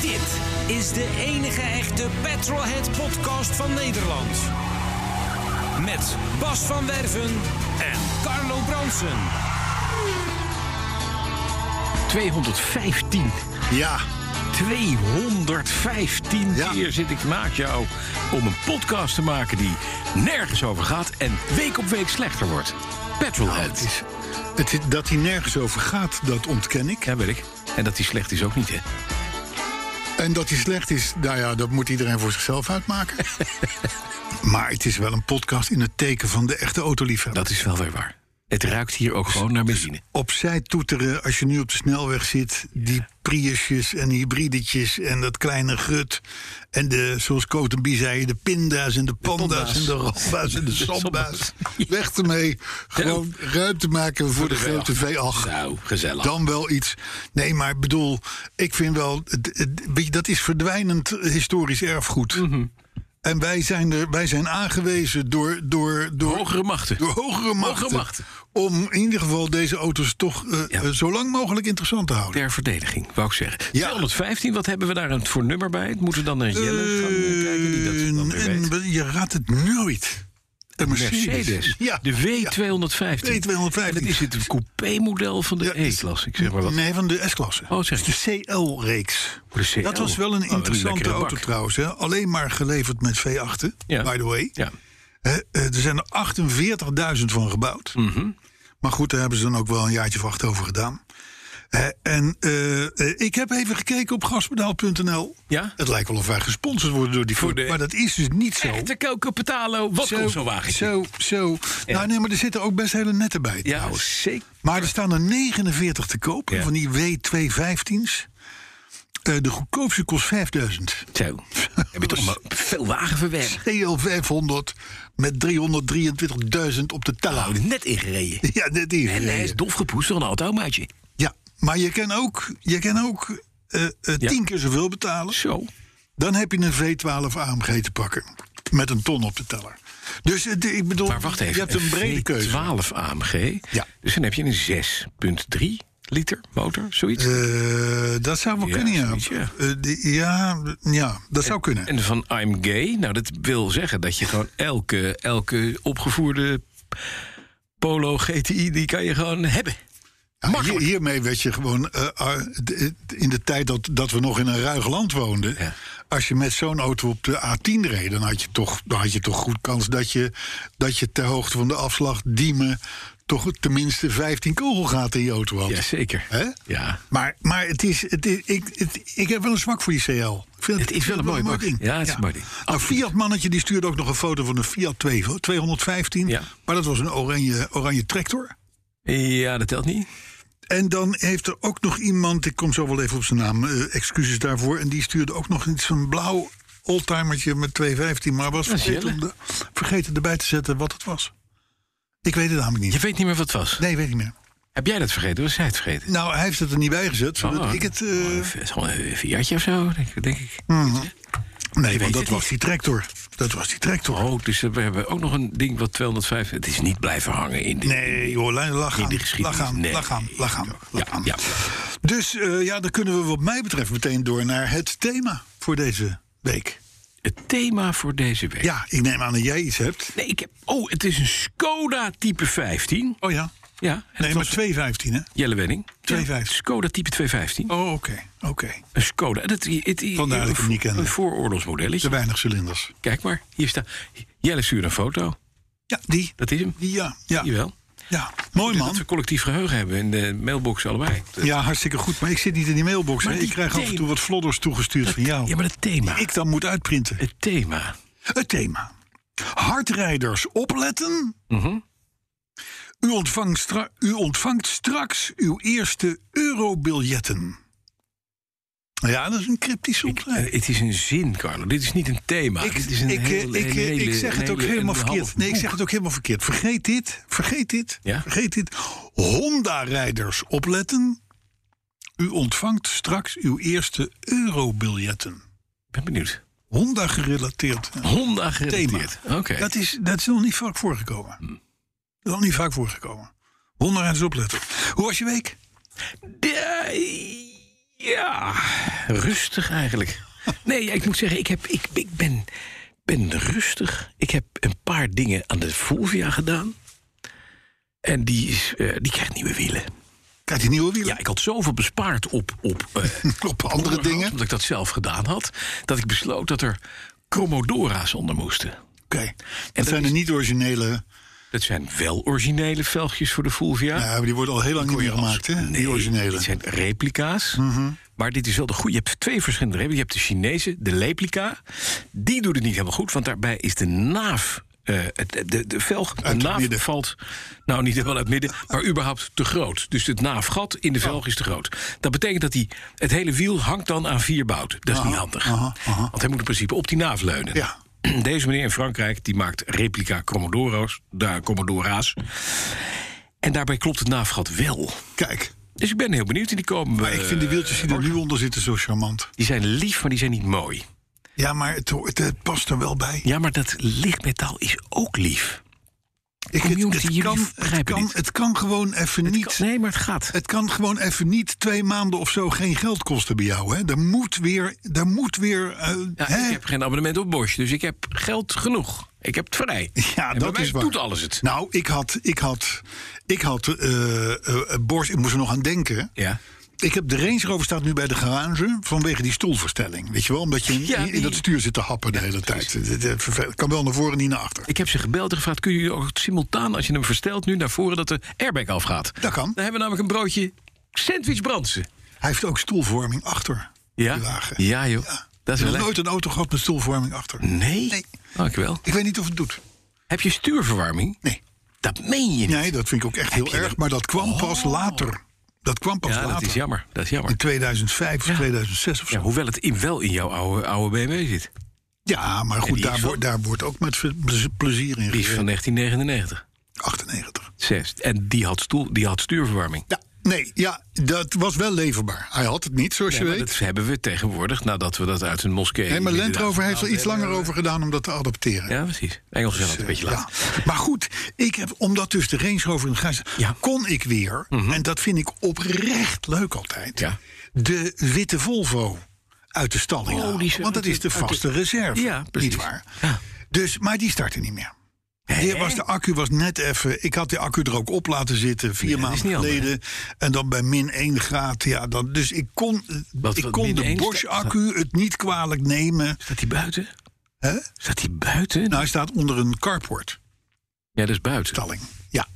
Dit is de enige echte Petrolhead podcast van Nederland. Met Bas van Werven en Carlo Bronsen. 215. Ja, 215 Ja. keer zit ik naast jou om een podcast te maken die nergens over gaat en week op week slechter wordt. Petrolhead. Nou, het is, het, is- dat hij nergens over gaat, dat ontken ik. Ja, weet ik. En dat die slecht is ook niet, hè? En dat hij slecht is, nou ja, dat moet iedereen voor zichzelf uitmaken. maar het is wel een podcast in het teken van de echte autoliefhebber. Dat is wel weer waar. Het ruikt hier ook gewoon naar benzine. Opzij toeteren als je nu op de snelweg zit. Die Priusjes en hybridetjes en dat kleine gut. En de, zoals Cotenby zei, de pinda's en de panda's panda's. en de romba's en de samba's. samba's. Weg ermee. Gewoon ruimte maken voor, de, grote V8. Nou, gezellig. Dan wel iets. Nee, maar ik bedoel, ik vind wel. het- het- Weet je, dat is verdwijnend historisch erfgoed. En wij zijn, er, wij zijn aangewezen door, door, door, Hogere machten. door hogere machten. machten. Om in ieder geval deze auto's toch eh, Ja. eh, zo lang mogelijk interessant te houden. Ter verdediging, wou ik zeggen. Ja. 215, wat hebben we daar een voor nummer bij? Moeten we dan naar Jelle gaan eh, kijken die dat dan weer Eh, weet? en je raadt het nooit. Een Mercedes. Mercedes. Ja. De W215. W215. En Dat is het coupé-model van de Ja, E-klasse. Ik zeg maar wat. Nee, van de S-klasse. Oh, zeg Dus de CL-reeks. De CL. Dat was wel Oh, een wat een interessante lekkere auto bak. trouwens. Hè? Alleen maar geleverd met V8, Ja. by the way. Ja. Hè, eh, er zijn er 48.000 van gebouwd. Mhm. Maar goed, daar hebben ze dan ook wel een jaartje of acht over gedaan. Hè, en eh, eh, ik heb even gekeken op gaspedaal.nl. Ja? Het lijkt wel of wij gesponsord worden door die Voor Ford. de- Maar dat is dus niet zo. Echte Coco wat komt zo'n wagentje? zo, zo. Nou nee, maar er zitten ook best hele nette bij ja, trouwens. zeker. Maar er staan er 49 te koop Ja. van die W215's. Eh, de goedkoopste kost 5000. Zo. Heb je toch maar veel wagen verwerkt? GL 500 E met 323.000 op de teller. Houden net ingereden. Ja, net die. En hij is dof gepoest door een oud omaatje. Ja, maar je kan ook, je kan ook eh, eh, tien keer zoveel betalen. Zo. Dan heb je een V12 AMG te pakken. Met een ton op de teller. Dus eh, de- ik bedoel, Maar wacht even. je hebt een brede keuze. 12 AMG. Ja. Dus dan heb je een 6,3 liter motor, zoiets. Eh, dat zou wel Ja, kunnen, ja. zoiets, ja. Eh, die- ja. Ja, dat zou kunnen. En van I'm gay, nou dat wil zeggen dat je gewoon elke, elke opgevoerde Polo GTI, die kan je gewoon hebben. Ja, hier- hiermee werd je gewoon eh, ah, d- d- in de tijd dat, dat we nog in een ruig land woonden. Ja. Als je met zo'n auto op de A10 reed, dan had je toch, dan had je toch goed kans dat je, dat je ter hoogte van de afslag Diemen toch tenminste 15 kogelgaten in je auto had. Jazeker. Hè? Ja. Maar, maar het is, het is, ik, het- ik heb wel een zwak voor die CL. Ik vind Het is wel een mooi bak. Ja, het is een mooi ding. Een Fiat-mannetje Nou, die stuurde ook nog een foto van een Fiat 2 215. Ja. Maar dat was een oranje, oranje tractor. Ja, dat telt niet. En dan heeft er ook nog iemand, ik kom zo wel even op zijn naam, eh, excuses daarvoor. En die stuurde ook nog iets van blauw oldtimertje met 215, maar was Dat is vergeten, om de, vergeten erbij te zetten wat het was. Ik weet het namelijk Je niet. weet niet meer wat het was. Nee, weet ik niet meer. Heb jij dat vergeten? Was zij het vergeten? Nou, hij heeft het er niet bij gezet, zodat Oh, ik het... eh, oh, een v- het is gewoon een Fiatje of zo, denk, ik- denk ik. nee, weet want dat het was niet. die tractor. Dat was die tractor. Oh, dus we hebben ook nog een ding wat 205... Het is niet blijven hangen in de... Nee, joh, lach aan, in de lach geschiedenis. aan, Nee. lach aan, lach aan, Ja, lach aan. ja. Dus eh, ja, dan kunnen we wat mij betreft meteen door naar het thema voor deze week. Het thema voor deze week. Ja, ik neem aan dat jij iets hebt. Nee, ik heb... Oh, het is een Skoda type 15. Oh ja. Ja, en dat Nee, maar was 215, hè? Jelle Wenning. 215. Skoda type 215. Oh, oké. Oké. Een Skoda. Dat, het, het, Vandaar dat ik hem niet een, kende. een vooroorlogsmodelletje. Te weinig cilinders. Kijk maar, hier staat... Jelle stuurt een foto. Ja, die. Dat is hem. Die, ja. Ja. Jawel. ja. Mooi, Dat we man. collectief geheugen hebben in de mailbox allebei. Ja, hartstikke goed. Maar ik zit niet in die mailbox. Maar hè. die Ik krijg af en thema- toe wat flodders toegestuurd van jou. Ja, maar het thema. Ik dan moet uitprinten. Het thema. Het thema. Hardrijders opletten. U ontvangt, stra- u ontvangt straks uw eerste eurobiljetten. Ja, dat is een cryptische omschrijving. Eh, Het is een zin, Carlo. Dit is niet een thema. Ik, Ah, Dit is een ik, eh, heel- ik, een ik hele- zeg een het ook hele- helemaal een verkeerd. half Nee, ik zeg boek. het ook helemaal verkeerd. Vergeet dit, vergeet dit, Ja? vergeet dit. Honda-rijders opletten. U ontvangt straks uw eerste eurobiljetten. Ik ben benieuwd. Honda-gerelateerd Honda thema. gerelateerd. Oké. Dat, is, dat is nog niet vaak voorgekomen. Hmm. Dat is nog niet vaak voorgekomen. Honda-rijders opletten. Hoe was je week? De- Eh, ja, rustig eigenlijk. Nee, ja, ik moet zeggen, ik, heb, ik, ik ben, ben rustig. Ik heb een paar dingen aan de Fulvia gedaan. En die, is, eh, die krijgt nieuwe wielen. Kijk, die nieuwe wielen. Ja, ik had zoveel bespaard op, op eh, Klopt, andere onderhoud, dingen. Omdat ik dat zelf gedaan had. Dat ik besloot dat er Chromodora's onder moesten. Oké. dat Dat zijn de is- niet-originele. Dat zijn wel originele velgjes voor de Fulvia. Ja, maar Nou, die worden al heel lang niet meer gemaakt, hè? Nee, die originele. Mhm. Dit zijn replica's. Maar dit is wel de goede. Je hebt twee verschillende replica's. Je hebt de Chinese, de replica. Die doet het niet helemaal goed, want daarbij is de naaf. eh, het- de, de, de velg, de het naaf midden. valt nou niet helemaal uit het midden, maar überhaupt te groot. Dus het naafgat in de Oh. velg is te groot. Dat betekent dat die, het hele wiel hangt dan aan vier bouten. Dat is niet handig. aha, aha. Want hij moet in principe op die naaf leunen. Ja. Deze meneer in Frankrijk die maakt replica Commodoro's, daar Commodora's. En daarbij klopt het naafgat wel. Kijk. Dus ik ben heel benieuwd. En die komen. eh. Maar ik vind de wieltjes die er nu onder zitten zo charmant. Die zijn lief, maar die zijn niet mooi. Ja, maar het, hoort- het past er wel bij. Ja, maar dat lichtmetaal is ook lief. Ik, het, community, het, jullie kan, het, begrijpen kan, dit. het kan gewoon even Het niet. kan- nee, maar het gaat. het kan gewoon even niet twee maanden of zo geen geld kosten bij jou. Hè? Er moet weer. Er moet weer eh, Ja, hè? ik heb geen abonnement op Bosch, dus ik heb geld genoeg. Ik heb het vrij. Ja, en bij dat mij is waar. doet alles het. Nou, ik had. Ik had. Ik had. eh, eh, eh, Bosch, ik moest er nog aan denken. Ja. Ik heb de Range Rover staat nu bij de garage vanwege die stoelverstelling. Weet je wel? Omdat je in, Ja, in- in die- dat stuur zit te happen de hele tijd. Het- het- het Kan wel naar voren en niet naar achter. Ik heb ze gebeld en gevraagd: kun je ook simultaan, als je hem verstelt, nu naar voren dat de airbag afgaat? Dat kan. Dan hebben we namelijk een broodje sandwich brandsen. Hij heeft ook stoelvorming achter Ja? die wagen. Ja, joh. Dat is Ik wel heb lekker. nooit een auto gehad met stoelvorming achter. Nee? Nee. Dankjewel. Ik weet niet of het doet. Heb je stuurverwarming? Nee. Dat meen je niet. Nee, dat vind ik ook echt heel je erg. dat- Oh. Maar dat kwam pas later. Dat kwam pas ja, later. dat is jammer. Dat is jammer. In 2005 of 2006 of zo. Ja, Ja, hoewel het in, wel in jouw oude, oude BMW zit. maar En goed, die daar, is wordt- daar wordt ook met ve- plez- plezier in Die is van gereden. 1999. 98. Zes. En die had, stoel, die had stuurverwarming. Ja, nee, ja, dat was wel leverbaar. Hij had het niet, zoals Ja, je maar weet. dat hebben we tegenwoordig nadat we dat uit een moskee. Nee, maar Land inderdaad Nou, Rover heeft er gehaald iets langer hebben. over gedaan om dat te adopteren. Ja, precies. Engels is altijd een beetje laat. Ja. Maar goed, ik heb, omdat dus de Range Rover in de garage zat, Ja. Mhm. kon ik weer, en dat vind ik oprecht leuk altijd, Ja. de witte Volvo uit de stalling Oh, die halen. is Want dat uit is de- de uit de- vaste reserve, Ja, precies. niet waar? Ja. Dus, maar die startte niet meer. Die was, de accu was net even. Ik had de accu er ook op laten zitten vier Ja, dat is maanden niet handig, geleden. En dan bij min 1 graad. Ja, dan, dus ik kon, Wat- ik wat kon min de één Bosch staat- accu het niet kwalijk nemen. Staat die buiten? Hè? Staat die buiten? Nou, hij staat onder een carport. ja, dat is buiten. stalling. Ja,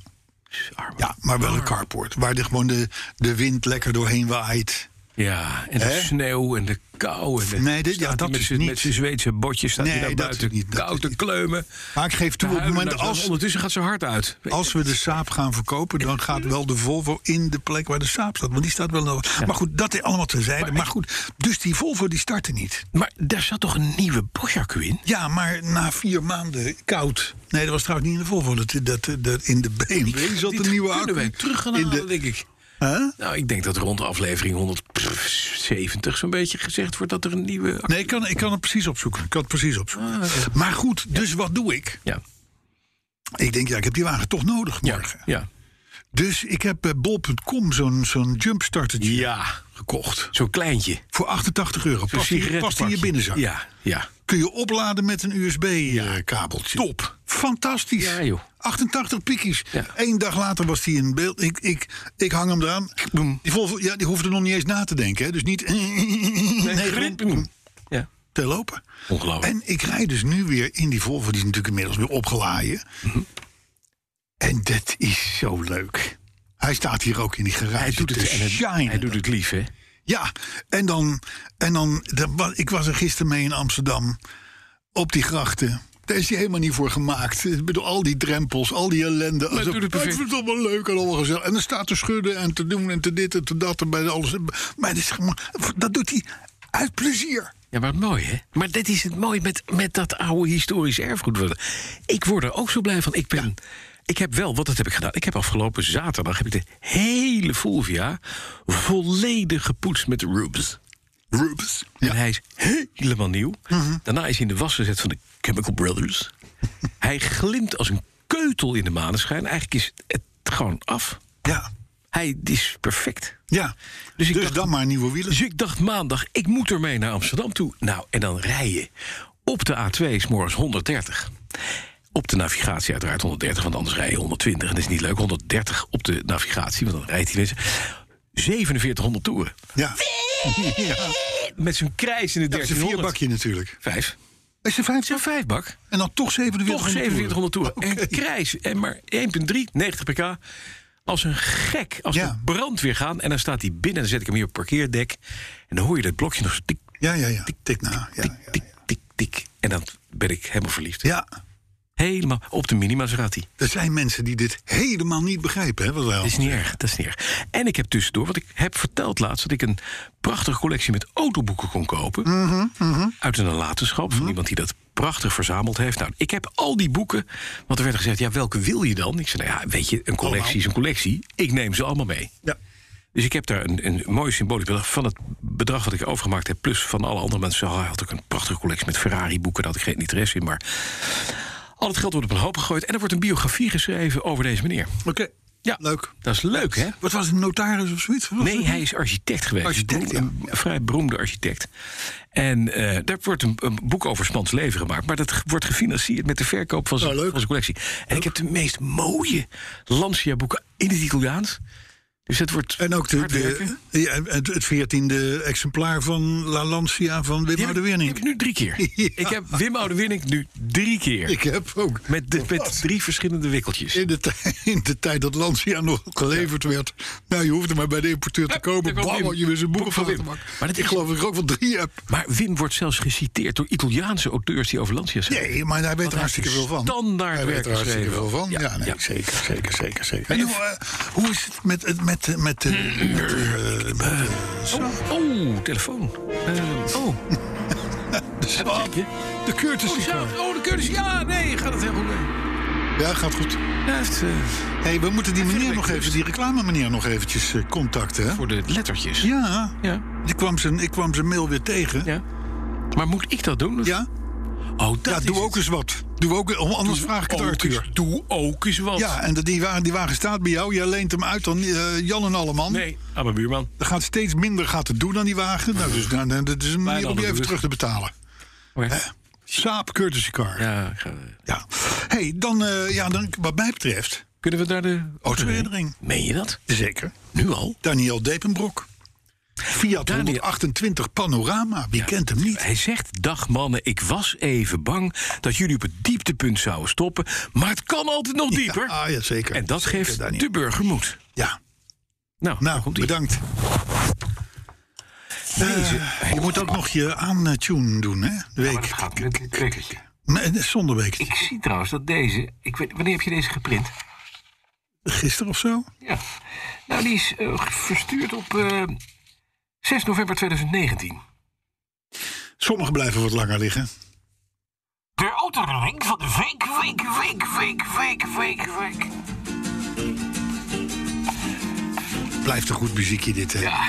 Arme. ja, maar wel een carport. Waar de, gewoon de, de wind lekker doorheen waait. Ja, en de Hè? sneeuw en de kou. En de, Nee, dit- ja, staat hij dat met is zijn- niet. Met zijn Zweedse botjes staat hij Nee, daar dat buiten. is niet, dat koud is te niet. kleumen. Maar ik geef toe, op het Huilen moment naar het- als, Ondertussen gaat ze hard uit. als we de Saab gaan verkopen... dan gaat wel de Volvo in de plek waar de Saab staat. Want die staat wel... Maar goed, dat is allemaal terzijde. Maar goed, dus die Volvo die startte niet. Maar daar zat toch een nieuwe Bosch-accu in? Ja, maar na vier maanden koud... Nee, dat was trouwens niet in de Volvo. Dat, dat, dat, in de BMW zat Dit een nieuwe kunnen accu. wij terug gaan in halen, de, denk ik. Hè? Nou, ik denk dat rond aflevering 170 zo'n beetje gezegd wordt dat er een nieuwe... Nee, ik kan, ik kan het precies opzoeken. Ik kan het precies opzoeken. Ah, Maar goed, dus wat doe ik? Ja, Ik denk, ja, ik heb die wagen toch nodig ja, morgen. ja. Dus ik heb bij bol.com zo'n zo'n jumpstartertje ja. gekocht. Zo'n kleintje. Voor 88 euro. Zo'n Past in, past in je sigarettenpakje. binnenzak. Ja, ja. Kun je opladen met een USB-kabeltje. Top. Fantastisch. Ja, joh. 88 piekies. Ja. Eén dag later was die in beeld. Ik, ik, ik hang hem eraan. Boem. Die, Volvo, ja, die hoefde nog niet eens na te denken. Hè. Dus niet... Nee, gewoon Ja. te lopen. Ongelooflijk. En ik rijd dus nu weer in die Volvo. Die is natuurlijk inmiddels weer opgeladen. Mhm. En dat is zo leuk. Hij staat hier ook in die garage. Hij doet te het, en het- shinen. hij doet het lief, hè? Ja, en dan. En dan dat wa- ik was er gisteren mee in Amsterdam. Op die grachten. Daar is hij helemaal niet voor gemaakt. Ik bedoel, al die drempels, al die ellende. Alsof, doe het "Ah, ik perfect." vind het allemaal leuk en allemaal gezellig. En dan staat te schudden en te doen en te dit en te dat en bij alles. Maar dat, is, gewoon- dat doet hij uit plezier. Ja, maar mooi, hè? Maar dit is het mooie met, met dat oude historisch erfgoed. worden. Ik word er ook zo blij van. Ik ben... Ik heb wel, wat heb ik gedaan? Ik heb afgelopen zaterdag heb ik de hele Fulvia volledig gepoetst met Rubes. Rubens. En hij is helemaal nieuw. Daarna is hij in de was gezet van de Chemical Brothers. hij glimt als een keutel in de maneschijn. Eigenlijk is het gewoon af. Ja. Hij is perfect. ja. Dus Dus, ik dacht- dan maar nieuwe wielen. Dus ik dacht maandag, ik moet ermee naar Amsterdam toe. Nou, en dan rij je op de A2 is morgens 130. Op de navigatie uiteraard 130, want anders rij je 120. En dat is niet leuk, 130 op de navigatie, want dan rijdt hij weer 4700 toeren. Ja. ja. Met zijn krijs in de Dat is een 1300. vierbakje natuurlijk. Vijf. Is er Het is een vijf? vijfbak. En dan toch 4700 Toch 4700 toeren. Oké. En krijs, en maar 1,3, 90 pk. Als een gek, als Ja. de brandweer gaan. En dan staat hij binnen en dan zet ik hem hier op het parkeerdek. En dan hoor je dat blokje nog zo tik, Ja, ja, ja. Tik na. Ja, tik, ja. tik, tik, tik. En dan ben ik helemaal verliefd. ja. Helemaal op de minima gaat hij. Er zijn mensen die dit helemaal niet begrijpen. Hè, wat wij Dat is niet erg, dat is niet erg. En ik heb tussendoor, want ik heb verteld laatst... dat ik een prachtige collectie met autoboeken kon kopen. Uit een nalatenschap van iemand die dat prachtig verzameld heeft. Nou, ik heb al die boeken, want er werd gezegd... ja, welke wil je dan? Ik zei, nou ja, weet je, een collectie is een collectie. Ik neem ze allemaal mee. Ja. Dus ik heb daar een, een mooi symbolisch bedrag van het bedrag wat ik overgemaakt heb, plus van alle andere mensen. Hij had ook een prachtige collectie met Ferrari-boeken, daar had ik geen interesse in. Maar al het geld wordt op een hoop gegooid en er wordt een biografie geschreven over deze meneer. Oké. Ja, Leuk. Dat is leuk, hè? Wat was het, een notaris of zoiets? Wat was Nee, het? hij is architect geweest. Architect, Beroemd- een vrij beroemde architect. En eh, daar wordt een, een boek over Spans leven gemaakt. Maar dat wordt gefinancierd met de verkoop van zijn, Nou, leuk. van zijn collectie. En ik heb de meest mooie Lancia-boeken in het Italiaans. Dus dat wordt En ook de, hard werken. de, ja, het, het 14e exemplaar van La Lancia van Wim Die ja, heb de ik- die heb Winning. ik nu drie keer. Ja. Ik heb Wim Oudewinnink nu drie keer. Ik heb ook. met, de- met drie verschillende wikkeltjes. In de, tij- in de tijd dat Lancia nog geleverd werd. Nou, je hoefde maar bij de importeur te Ja, komen. daar kwam Bam, Wim. had je weer zijn boek Boek op van Wim. Maar Maar dat Ik is- geloof dat ik er ook wel drie heb. Maar Wim wordt zelfs geciteerd door Italiaanse auteurs die over Lancia zijn. Nee, maar hij weet er hij hartstikke heeft veel van. standaard Hij weet werk er hartstikke veel geschreven. van. Ja, Ja, nee, ja. zeker, zeker, zeker, zeker. En hoe, eh, hoe is het met... met, met, eh, met, eh, met, eh, met, eh, Oh, oh, telefoon. Eh, oh, Dus de zaak? De courtesy oh, car. zou- oh, de cursus. Ja, nee, gaat het heel goed. mee. Ja, gaat goed. Hij heeft eh, hey, we moeten die meneer ben nog ik even, rust. die reclame meneer nog eventjes eh, contacten. Hè? voor de lettertjes. Ja, Ja. ik kwam, zijn, ik kwam zijn mail weer tegen. Ja, ja. Maar moet ik dat doen? ja? Oh, dat is doe het. ook eens wat. Doe ook, oh, anders vraag ik het Ook eens- Arthur. Doe ook eens wat. Ja, en dat- die wagen, die wagen staat bij jou. Jij leent hem uit aan eh, Jan en Alleman. Nee, aan mijn buurman. Er gaat steeds minder gaat het doen aan die wagen. Nou, dus nou, nou, dat is een manier om dan die de even rust. terug te betalen. Oké. Saap courtesy car. Ja. Oh, Ja, ik ga- eh, hey, dan, eh, ja, dan wat mij betreft... kunnen we daar de... Autoherinnering. Meen je dat? Zeker. Nu al? Daniel Depenbroek. Fiat Daniel. 128 Panorama. Wie kent hem niet? Hij zegt, dag mannen, ik was even bang dat jullie op het dieptepunt zouden stoppen. Maar het kan altijd nog dieper. Ah, ja, zeker. en dat Zeker, geeft Daniel. de burger moed. Ja. Nou, daar Nou, komt ie. bedankt. Eh, je moet ook nog je aantune doen, hè? De Maar dat week. gaat met een trekkertje. Nee, zonder week. Ik zie trouwens dat deze... Ik weet, wanneer heb je deze geprint? Gisteren of zo? Ja. Nou, die is eh, verstuurd op eh, 6 november 2019. Sommige blijven wat langer liggen. De autoring van de week, week, week, week, week, week, week. Blijft een goed muziekje dit, hè? Ja,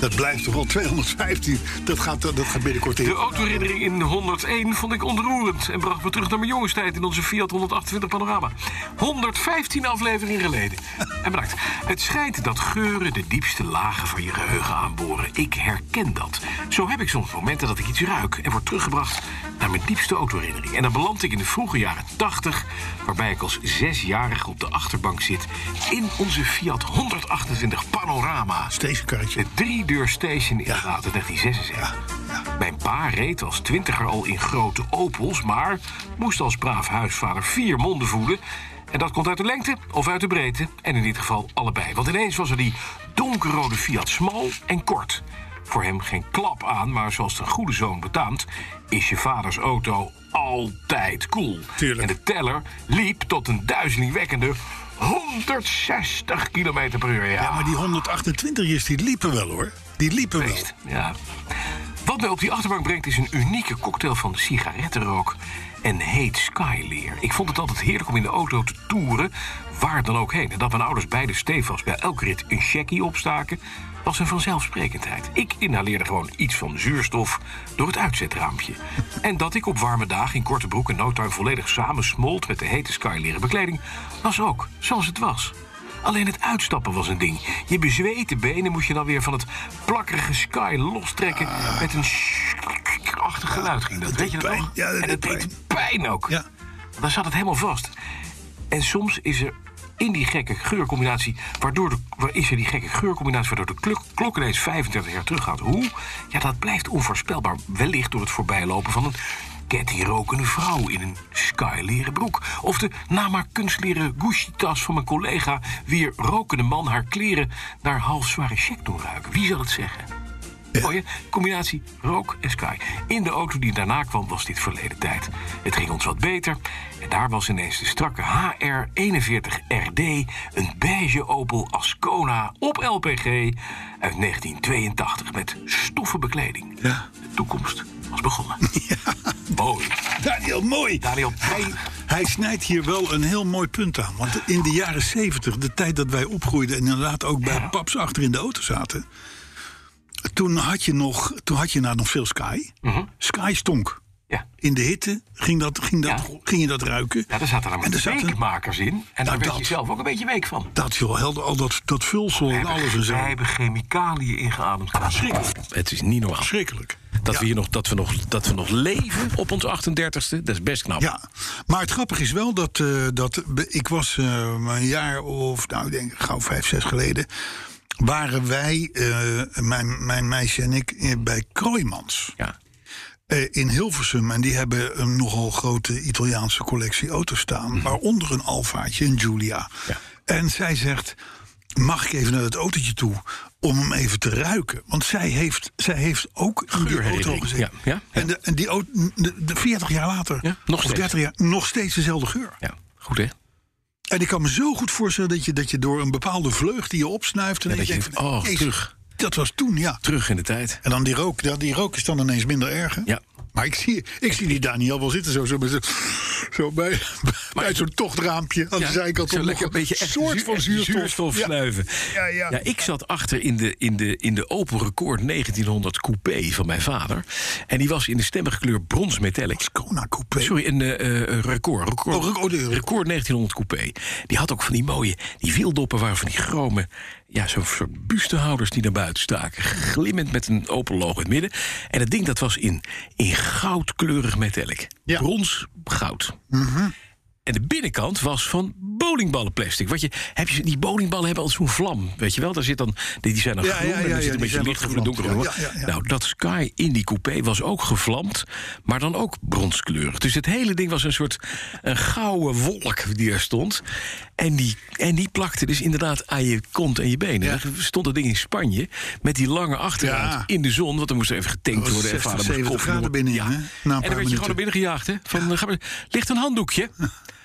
Dat blijft toch al 215. Dat gaat, dat gaat binnenkort de in. autoherinnering in 101 vond ik ontroerend... en bracht me terug naar mijn jongenstijd in onze Fiat 128 Panorama. 115 afleveringen geleden. En bedankt. Het schijnt dat geuren de diepste lagen van je geheugen aanboren. Ik herken dat. Zo heb ik soms momenten dat ik iets ruik... en word teruggebracht naar mijn diepste autoherinnering. En dan beland ik in de vroege jaren 80... waarbij ik als zesjarige op de achterbank zit... in onze Fiat 128 Panorama... Stationkarretje. De driedeur station in Gaten 1976. Mijn pa reed als twintiger al in grote Opels... maar moest als braaf huisvader vier monden voeden... En dat komt uit de lengte of uit de breedte. En in dit geval allebei. Want ineens was er die donkerrode Fiat smal en kort. voor hem geen klap aan, maar zoals de goede zoon betaamt, is je vaders auto altijd cool. Tuurlijk. En de teller liep tot een duizelingwekkende 160 km per uur. Ja, maar die 128 is, die liepen wel hoor. Die liepen wel. Feest, Ja. Wat mij op die achterbank brengt is een unieke cocktail van sigarettenrook en heet skyleer. Ik vond het altijd heerlijk om in de auto te toeren, waar dan ook heen. En dat mijn ouders beide stevast bij elk rit een checkie opstaken, was een vanzelfsprekendheid. Ik inhaleerde gewoon iets van zuurstof door het uitzetraampje. En dat ik op warme dagen in korte broek en no time volledig samensmolt met de hete skyleren bekleding, was ook zoals het was. Alleen het uitstappen was een ding. Je bezweten benen moest je dan weer van het plakkerige sky lostrekken. Met een achtig geluid ging dat. Ah. dat Weet je dat deed pijn. nog? Ja, en dat deed het deed pijn ook. Ja. Dan zat het helemaal vast. En soms is er in die gekke geurcombinatie... Waardoor de, waar is er die gekke geurcombinatie waardoor de klok, klok ineens 35 jaar terug gaat. Hoe? Ja, dat blijft onvoorspelbaar. Wellicht door het voorbijlopen van een kettingrokende vrouw in een skyleren broek. Of de namaak kunstleren Gucci-tas van mijn collega... wier rokende man haar kleren naar halfzware check doen ruiken. Wie zal het zeggen? Mooie combinatie rook en sky. In de auto die daarna kwam was dit verleden tijd. Het ging ons wat beter. En daar was ineens de strakke HR41RD... een beige Opel Ascona op LPG uit 1982... met stoffen bekleding. Ja. De toekomst was begonnen. Mooi. Daniel, mooi. Daniel, Hij, hij... hij snijdt hier wel een heel mooi punt aan. Want in de jaren 70, de tijd dat wij opgroeiden... en inderdaad ook bij paps achter in de auto zaten... toen had je, nog, toen had je nou nog veel Sky. Mhm. Sky stonk. Ja. In de hitte ging, dat, ging, dat, Ja. ging je dat ruiken. ja, daar zaten En daar namelijk zaten- Nou, weekmakers in. En daar werd je dat. zelf ook een beetje week van. Dat joh, helder, al dat, dat vulsel en Wij hebben- alles en zo. Wij hebben chemicaliën ingeademd. Schrikkelijk, Het is niet normaal. schrikkelijk. Dat, we hier nog, dat, we nog, dat we nog leven op ons 38ste, dat is best knap. Ja, maar het grappige is wel dat, eh, dat be- ik was eh, maar een jaar of, nou ik denk gauw vijf, zes geleden... waren wij, eh, mijn, mijn meisje en ik, eh, bij Kroijmans Ja. eh, in Hilversum. En die hebben een nogal grote Italiaanse collectie auto's staan. Waaronder een Alfaatje, een Giulia. Mhm. Ja. En zij zegt, mag ik even naar dat autootje toe om hem even te ruiken? Want zij heeft, zij heeft ook in die auto Geurherinnering, gezeten. ja, ja, ja. En, de, en die auto, de, de 40 jaar later, Ja, nog of steeds. 30 jaar, nog steeds dezelfde geur. ja. Goed hè? En ik kan me zo goed voorstellen dat je, dat je door een bepaalde vleugd die je opsnuift... en Ja, dat je denkt, van, oh, jezus, terug. dat was toen, ja. Terug in de tijd. En dan die rook, ja, die rook is dan ineens minder erg. hè? Ja. Maar ik zie, ik zie die Daniel wel zitten, zo, zo, met zo'n- zo bij, bij zo'n tochtraampje aan de zijkant. zo om nog lekker een beetje echt soort zuur- van echt zuurstof. Ja. snuiven. Ja, ja. ik zat achter in de, in, de, in de Opel Record 1900 coupé van mijn vader. En die was in de stemmige kleur brons metallic. Ascona coupé. Sorry, een eh, eh, record. Record, Oh, rec- oh, de- record 1900 coupé. Die had ook van die mooie, die wieldoppen waren van die chrome... ja, zo'n soort bustehouders die naar buiten staken. Glimmend met een open logo in het midden. En het ding dat was in, in goudkleurig metallic. Ja. Mhm. Brons, goud. En de binnenkant was van bowlingballenplastic. Wat je, heb je, die bowlingballen hebben al zo'n vlam, weet je wel? Daar zit dan, die die zijn dan Ja, groen ja, ja, en ja, dan zit die een beetje zijn lichtgroen en wat donkergroen. gevlamd. Ja, ja, ja. Nou, dat Sky in die coupé was ook gevlamd, maar dan ook bronskleurig. Dus het hele ding was een soort een gouden wolk die er stond. En die, en die plakte dus inderdaad aan je kont en je benen. Ja. Dan stond dat ding in Spanje met die lange achterruit Ja. Oh, in de zon... want er moest er even getankt Dat was worden. en 60, vader moest 70 koffie doen. graden binnenin, Ja. hè? Na een En paar dan werd je minuten. gewoon naar binnen gejaagd, hè? Van, eh, ga maar- ligt een handdoekje.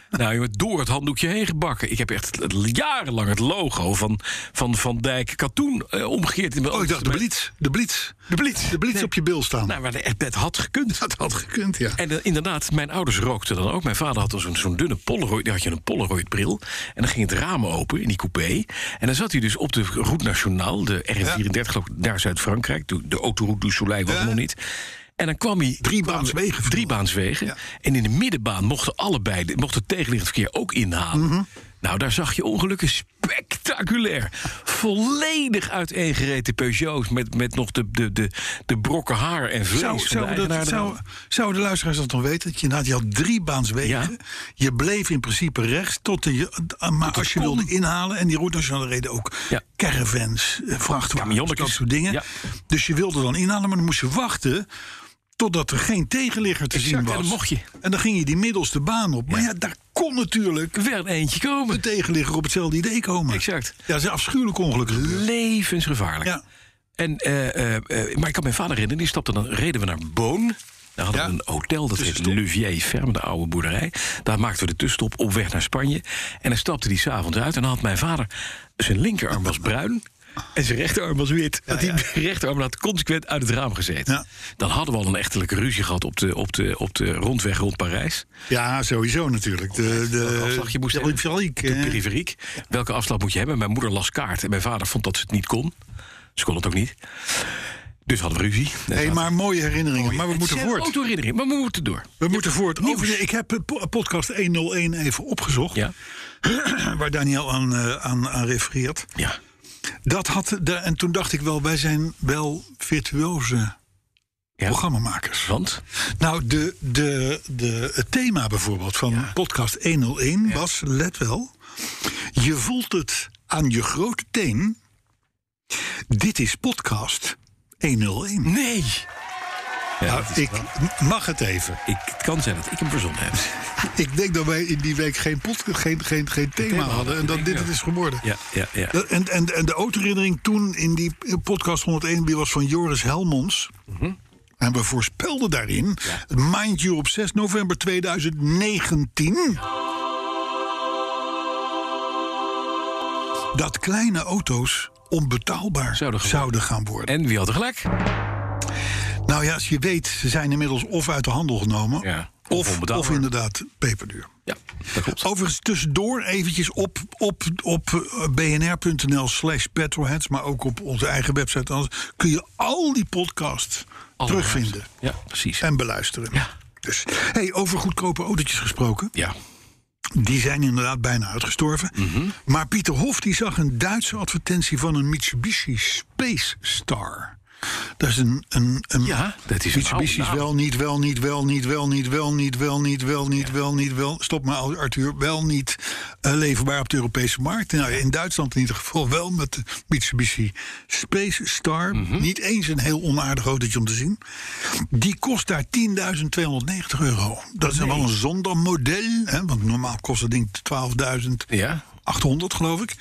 Nou, jongen, door het handdoekje heen gebakken. Ik heb echt l- jarenlang het logo van Van, van Dijk Katoen eh, omgekeerd. In mijn Oh, ik dacht de mijn- blitz. De blitz. De blitz. De blitz op je bil staan. Nou, maar de- het had gekund. dat had gekund, ja. En eh, inderdaad, mijn ouders rookten dan ook. Mijn vader had dan zo'n zo'n dunne Polaroid. Daar had je een Polaroid-bril. En dan ging het raam open in die coupé. En dan zat hij dus op de Route Nationale, de R34, geloof ik, naar Zuid-Frankrijk. De, de Autoroute du Soleil was Ja. er nog niet. En dan kwam hij... Drie kwam- baanswegen vroeger. Drie baanswegen. Ja. En in de middenbaan mochten allebei, de- mocht het tegenliggend verkeer ook inhalen. Mhm. Nou, daar zag je ongelukken spectaculair. Volledig uiteengereten Peugeots met, met nog de, de, de, de brokken haar en vlees Zou, van zou, de eigenaar dat, zou, eraan. zouden de luisteraars dat nog weten? Dat je, inderdaad, je had drie baans wegen. Ja. Je bleef in principe rechts. Tot de, je- ah, maar als je kon. wilde inhalen. En die route nationale reden ook. Ja. Caravans, eh, vrachtwagens, Camionnetjes. dat soort dingen. Ja. Dus je wilde dan inhalen. Maar dan moest je wachten. Totdat er geen tegenligger te Exact, zien en was. dan mocht je. En dan ging je die middelste baan op. Maar ja, daar kon natuurlijk Er werd eentje komen. een tegenligger op hetzelfde idee komen. Exact. Ja, dat is een afschuwelijk ongeluk. gebeurd. Levensgevaarlijk. Ja. En, eh, eh, eh, maar ik kan mijn vader herinneren, die stapte dan, reden we naar Boon. Daar hadden Ja. we een hotel, dat heette Luvier Ferme, de oude boerderij. Daar maakten we de tussenstop op weg naar Spanje. En dan stapte die s'avonds uit en dan had mijn vader... zijn linkerarm was bruin en zijn rechterarm was wit. Want die rechterarm had consequent uit het raam gezeten. Ja. Dan hadden we al een echtelijke ruzie gehad op de, op de, op de rondweg rond Parijs. Ja, sowieso natuurlijk. De, Welke de, afslag je moest de eh. hebben. Olympiek, De hè. periferiek. Welke afslag moet je hebben? Mijn moeder las kaart en mijn vader vond dat ze het niet kon. Ze kon het ook niet. Dus hadden we ruzie. Hey, maar mooie herinneringen. maar we moeten voort. Autoherinnering, maar we moeten door. We moeten voort. nieuws. Overigens, ik heb eh, po- podcast 101 even opgezocht. Ja. Waar Daniel aan, eh, aan, aan refereert. Ja. Dat had, de, en toen dacht ik wel, wij zijn wel virtuoze ja. programmamakers. Want? Nou, de, de, de, het thema bijvoorbeeld van podcast 101 was, let wel... Je voelt het aan je grote teen. Dit is podcast 101. Nee. Nou, ik mag het even. Ik, het kan zijn dat ik hem verzonnen heb. Ik denk dat wij in die week geen, pod, geen, geen, geen thema hadden, hadden. En dat dat denk dit ik het ook. is geworden. Ja, ja, ja. Dat- En, en, en de autoherinnering toen in die podcast 101 die was van Joris Helmons. Mhm. En we voorspelden daarin, mind you, op 6 november 2019... dat kleine auto's onbetaalbaar Zouden gaan zouden gaan worden. En wie had er gelijk? Nou ja, als je weet, ze zijn inmiddels of uit de handel genomen... Ja, of of, of, onbetaalbaar. inderdaad peperduur. Ja, dat klopt. Overigens, tussendoor eventjes op, op, op eh, bnr.nl slash petrolheads... maar ook op onze eigen website. Anders kun je al die podcasts terugvinden Ja, precies. en beluisteren. Ja. Dus, hey, over goedkope autootjes gesproken. Ja. Die zijn inderdaad bijna uitgestorven. Mhm. Maar Pieter Hof die zag een Duitse advertentie van een Mitsubishi Space Star. Dat is een... een, een Ja, dat is een Mitsubishi is oude naam. wel, niet, wel, niet, wel, niet, wel, niet, wel, niet, wel, niet, wel, niet, wel, niet, wel... Stop maar, Arthur. Wel niet eh, leverbaar op de Europese markt. Nou, ja, in Duitsland in ieder geval wel met de Mitsubishi Space Star. Mhm. Niet eens een heel onaardig autootje om te zien. Die kost daar 10.290 euro. Dat is wel een zonder model. Hè, want normaal kost dat ding 12.800, Ja. geloof ik.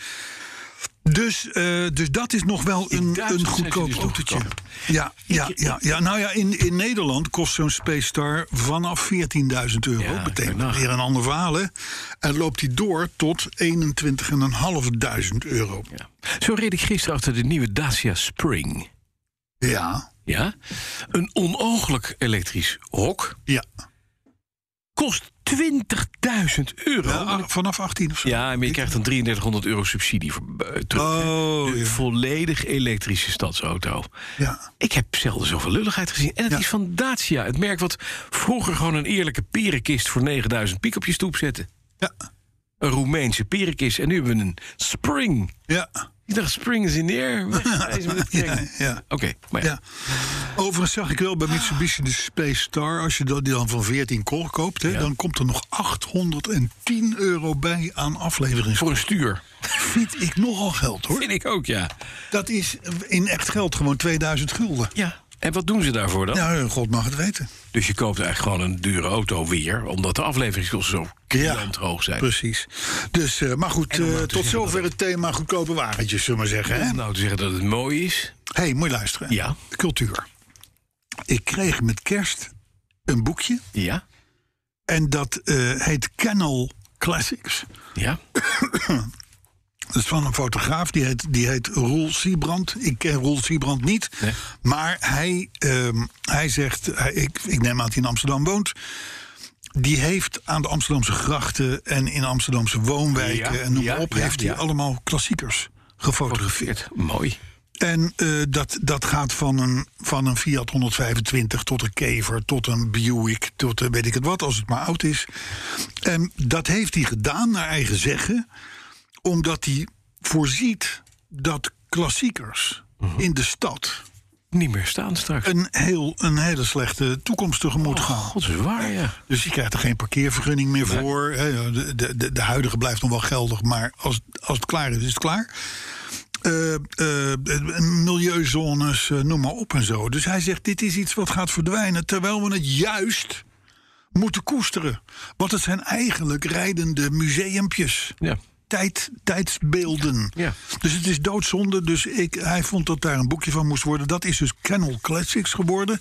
Dus, eh, dus dat is nog wel een, Duitsland een zijn ze goedkoop dus nog autootje. goedkoper. Ja, ja, ja, ja, nou ja, in, in Nederland kost zo'n Space Star vanaf 14.000 euro. Ja, betekent kan je weer een ander verhaal. hè. En loopt die door tot 21.500 euro. ja. Zo reed ik gisteren achter de nieuwe Dacia Spring. Ja, Ja. Een onooglijk elektrisch hok. ja. Kost 20.000 euro. ja Ah, vanaf 18 of zo. Ja, maar je krijgt een 3300 euro subsidie voor, eh, terug. Oh, Een ja. volledig elektrische stadsauto. ja. Ik heb zelden zoveel lulligheid gezien. En het Ja. is van Dacia. Het merk wat vroeger gewoon een eerlijke perenkist... voor 9000 piek op je stoep zette. ja. Een Roemeense perenkist. En nu hebben we een Spring. Ja, Ik dacht, Spring is in de air. Wegwijzen met het ja, ding. ja. Oké, maar ja. ja. Overigens zag ik wel bij Mitsubishi de Space Star... als je dat- die dan van 14 ko- koopt... Hè, dan komt er nog 810 euro bij aan aflevering. Voor een stuur. Vind ik nogal geld, hoor. Vind ik ook, ja. Dat is in echt geld gewoon 2000 gulden. Ja. En wat doen ze daarvoor dan? Nou, God mag het weten. Dus je koopt eigenlijk gewoon een dure auto weer... omdat de afleveringskosten zo klant hoog zijn. Precies. Dus, eh, maar goed, eh, nou te tot zeggen zover het thema goedkope wagentjes, zullen we maar zeggen. Hè? Om nou te zeggen dat het mooi is... hey, moet je luisteren. Ja. Cultuur. Ik kreeg met kerst een boekje. Ja, En dat eh, heet Kennel Classics. ja. Dat is van een fotograaf, die heet, die heet Roel Siebrand. Ik ken Roel Siebrand niet. Nee. Maar hij, ehm, hij zegt, hij- ik, ik neem aan dat hij in Amsterdam woont. Die heeft aan de Amsterdamse grachten en in Amsterdamse woonwijken... Ja, en noem ja, maar op, ja, heeft ja. hij allemaal klassiekers gefotografeerd. Veert. Mooi. En eh, dat, dat gaat van een, van een Fiat 125 tot een Kever, tot een Buick, tot een weet ik het wat, als het maar oud is. En dat heeft hij gedaan, naar eigen zeggen, omdat hij voorziet dat klassiekers in de stad Niet meer staan straks. een, heel, een hele slechte toekomst tegemoet gaan. God, dat is waar, ja. Dus je krijgt er geen parkeervergunning meer voor. hè. De, de, de, de huidige blijft nog wel geldig, maar als, als het klaar is, is het klaar. Eh, eh, milieuzones, eh, noem maar op en zo. Dus hij zegt, dit is iets wat gaat verdwijnen... terwijl we het juist moeten koesteren. Want het zijn eigenlijk rijdende museumpjes. ja. tijd, tijdsbeelden. Ja. Dus het is doodzonde. Dus ik, hij vond dat daar een boekje van moest worden. Dat is dus Kennel Classics geworden.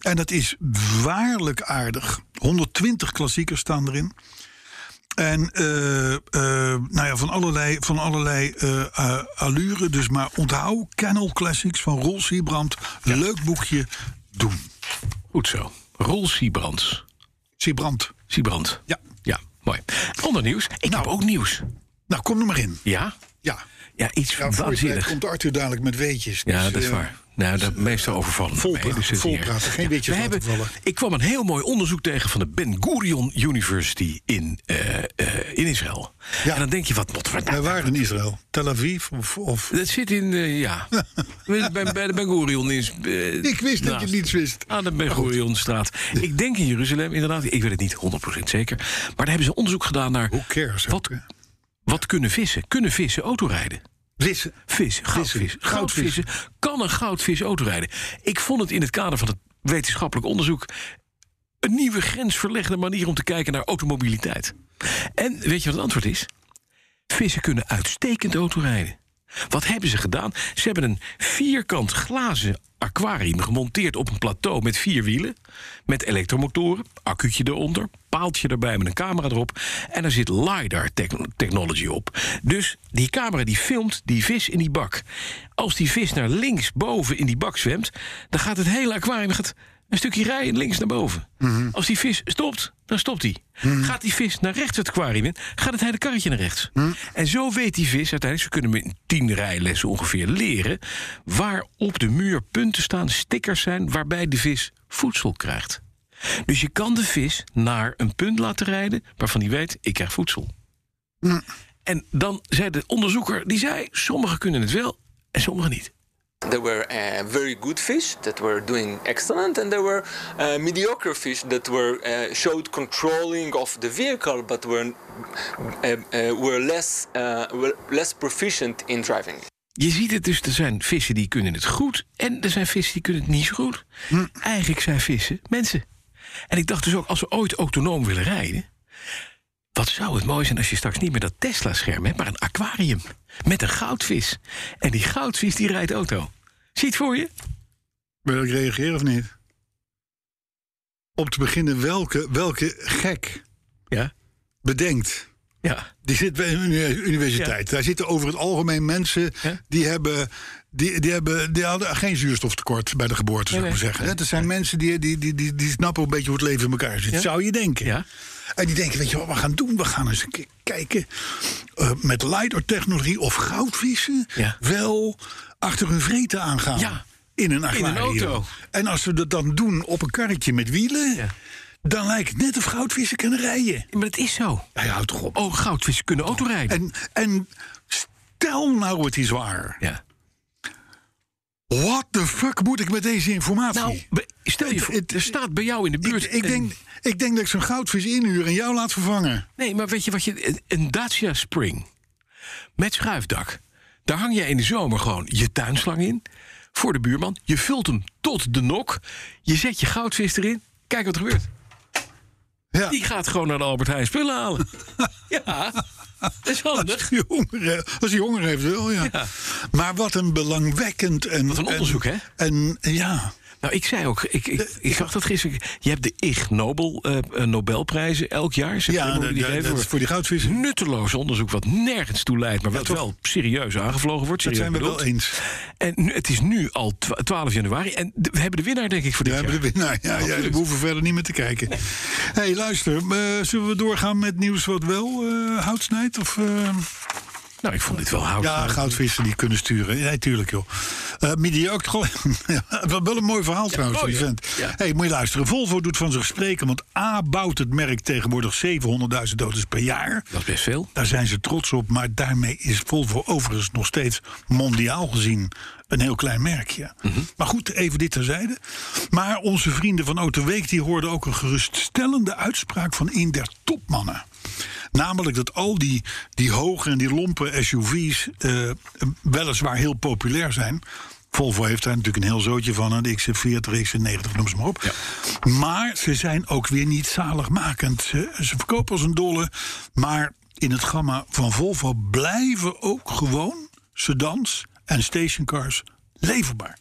En dat is waarlijk aardig. 120 klassiekers staan erin. En eh, eh, nou ja, van allerlei, van allerlei eh, eh, allure. Dus maar onthoud Kennel Classics van Rolf Siebrand. Leuk boekje. Doen. Goed zo. Rol Siebrand. Siebrand. Siebrand. Ja. Ja, mooi. Ander nieuws. Ik heb ook nieuws. Nou, kom er maar in. Ja? Ja. Ja, Ja, iets voor je tijd waanzinnig. komt Arthur dadelijk met weetjes. Ja, Dus, dat is eh, waar. Nou, dat meestal overvallen. vol mee, praten, dus het is vol niet erg. praten, geen Ja, weetjes we laten vallen. Ik kwam een heel mooi onderzoek tegen van de Ben Gurion University in, eh, eh, in Israël. Ja. En dan denk je, wat moeten we nou Wij waren in Israël. Tel Aviv of... of Dat zit in, eh, ja. bij, bij de Ben Gurion is. eh, ik wist dat je naast- niets wist. Aan de Ah, Ben Gurionstraat. Ik denk in Jeruzalem, inderdaad. Ik weet het niet 100% zeker. Maar daar hebben ze onderzoek gedaan naar. Who cares? Wat, ook, hè? wat kunnen vissen? Kunnen vissen autorijden? Wissen. Vissen, goudvis. Vissen, Goudvissen. Kan een goudvis autorijden? Ik vond het in het kader van het wetenschappelijk onderzoek. een nieuwe grensverleggende manier om te kijken naar automobiliteit. En weet je wat het antwoord is? Vissen kunnen uitstekend autorijden. Wat hebben ze gedaan? Ze hebben een vierkant glazen aquarium gemonteerd op een plateau met vier wielen. Met elektromotoren, accu'tje eronder, paaltje erbij met een camera erop. En er zit LiDAR-technology op. Dus die camera die filmt die vis in die bak. Als die vis naar links boven in die bak zwemt, dan gaat het hele aquarium gaat een stukje rijden links naar boven. Als die vis stopt, dan stopt hij. Gaat die vis naar rechts het aquarium in, gaat het hele karretje naar rechts. En zo weet die vis uiteindelijk, ze kunnen hem in tien rijlessen ongeveer leren... waar op de muur punten staan, stickers zijn... waarbij de vis voedsel krijgt. Dus je kan de vis naar een punt laten rijden waarvan die weet, ik krijg voedsel. En dan zei de onderzoeker, die zei, sommigen kunnen het wel en sommigen niet. There were uh, very good fish that were doing excellent, and there were uh, mediocre fish that were uh, showed controlling of the vehicle, but were uh, uh, were less uh, were less proficient in driving. Je ziet het dus, er zijn vissen die kunnen het goed... en er zijn vissen die kunnen het niet zo goed. Hm. Eigenlijk zijn vissen mensen. En ik dacht dus ook, als we ooit autonoom willen rijden... wat zou het mooi zijn als je straks niet meer dat Tesla-scherm hebt... maar een aquarium met een goudvis. En die goudvis die rijdt auto. Ziet voor je? Wil ik reageren of niet? Om te beginnen, welke, welke gek Ja. bedenkt... Ja. Die zit bij een uni- universiteit. Daar zitten over het algemeen mensen Ja. die hebben. Die, die, hebben, die hadden geen zuurstoftekort bij de geboorte, zou ik nee. maar zeggen. hè. Dat zijn mensen die, die, die, die, die snappen een beetje hoe het leven in elkaar zit. Ja. Zou je denken. Ja. En die denken, weet je wat we gaan doen? We gaan eens een keer kijken eh, met LiDAR-technologie of goudvissen... Ja. wel achter hun vreten aangaan. Ja. In een een aquarium. auto. En als we dat dan doen op een karretje met wielen... Ja. dan lijkt het net of goudvissen kunnen rijden. Maar het is zo. Hij houdt toch op. Oh, goudvissen kunnen autorijden. En, en stel nou het is waar. Ja. What the fuck moet ik met deze informatie? Nou, be- stel je Het- voor, het- er staat bij jou in de buurt... ik, ik, een- denk, ik denk dat ik zo'n goudvis inhuur en jou laat vervangen. Nee, maar weet je wat je. een- Een Dacia Spring. Met schuifdak. Daar hang je in de zomer gewoon je tuinslang in. Voor de buurman. Je vult hem tot de nok. Je zet je goudvis erin. Kijk wat er gebeurt. Ja. Die gaat gewoon naar de Albert Heijn spullen halen. ja, dat is handig. Als hij honger, he- als hij honger heeft, wel ja. Maar wat een belangwekkend en. Wat een onderzoek, en, hè? En ja, Nou, ik zei ook, ik, ik, ik zag dat gisteren. Je hebt de Ig Nobel eh, eh, Nobelprijzen elk jaar. Ze ja worden dat, die dat- gegeven dat is voor die goudvissen. Nutteloos onderzoek wat nergens toe leidt, maar wat toch? wel serieus aangevlogen wordt. Dat serieus zijn we wel bedoeld. eens. En nu, het is nu al twa- 12 januari. En d- we hebben de winnaar, denk ik, voor We dit hebben de jaar. winnaar. Ja, ja, we hoeven verder niet meer te kijken. Hé, hey, luister. eh, zullen we doorgaan met nieuws wat wel eh, hout snijdt? Of. eh, Nou, ik vond dit wel hout. Ja, goudvissen die kunnen sturen. Nee, tuurlijk joh. Eh mediocre. Ja, wel wel een mooi verhaal trouwens oh van die ja. vent. Ja. hey, moet je luisteren. Volvo doet van zich spreken, want A bouwt het merk tegenwoordig 700.000 auto's per jaar. Dat is best veel. Daar zijn ze trots op, maar daarmee is Volvo overigens nog steeds mondiaal gezien een heel klein merkje. Maar goed, even dit terzijde. Maar onze vrienden van Autoweek die hoorden ook een geruststellende uitspraak van een der topmannen. Namelijk dat al die, die hoge en die lompe SUV's eh, weliswaar heel populair zijn. Volvo heeft daar natuurlijk een heel zootje van, hè, de XC40, XC90, noem ze maar op. Maar ze zijn ook weer niet zaligmakend. Ze, ze verkopen als een dolle, maar in het gamma van Volvo blijven ook gewoon sedans en stationcars leverbaar.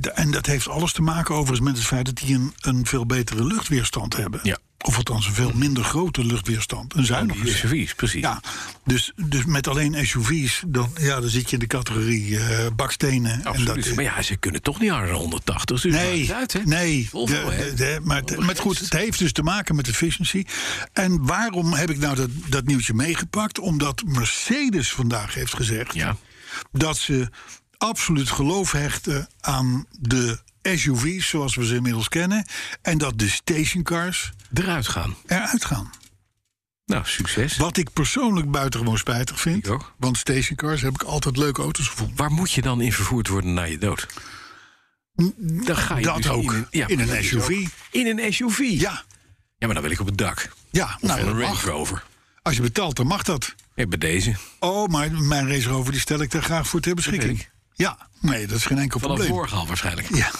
De- En dat heeft alles te maken overigens met het feit dat die een, een veel betere luchtweerstand hebben. Ja. Of althans een veel minder grote luchtweerstand. Een zuinige Die SUV's, precies. ja, dus, dus met alleen SUV's, dan, ja, dan zit je in de categorie eh, bakstenen. absoluut. En dat, eh, maar ja, ze kunnen toch niet harder dan 180. Dus maakt Nee, het uit, hè? nee. Volvo, de- hè? de- de- maar, het- maar het goed, het heeft dus te maken met efficiëntie. En waarom heb ik nou dat, dat nieuwtje meegepakt? Omdat Mercedes vandaag heeft gezegd Ja. dat ze absoluut geloof hechten aan de SUV's zoals we ze inmiddels kennen. En dat de stationcars Eruit gaan. eruit gaan. Nou, succes. Wat ik persoonlijk buitengewoon spijtig vind. Ik ook. Want stationcars heb ik altijd leuke auto's gevonden. Waar moet je dan in vervoerd worden na je dood? Dan ga je dat dus ook. In een, ja, In maar een dat is SUV. ook. In een SUV? Ja, Ja, maar dan wil ik op het dak. ja Of nou, in dat een Range mag. Rover. Als je betaalt, dan mag dat. Ja, bij deze. Oh, maar mijn Range Rover die stel ik daar graag voor ter beschikking. weet ik. Ja, nee, dat is geen enkel Vanaf probleem. morgen al waarschijnlijk. Ja,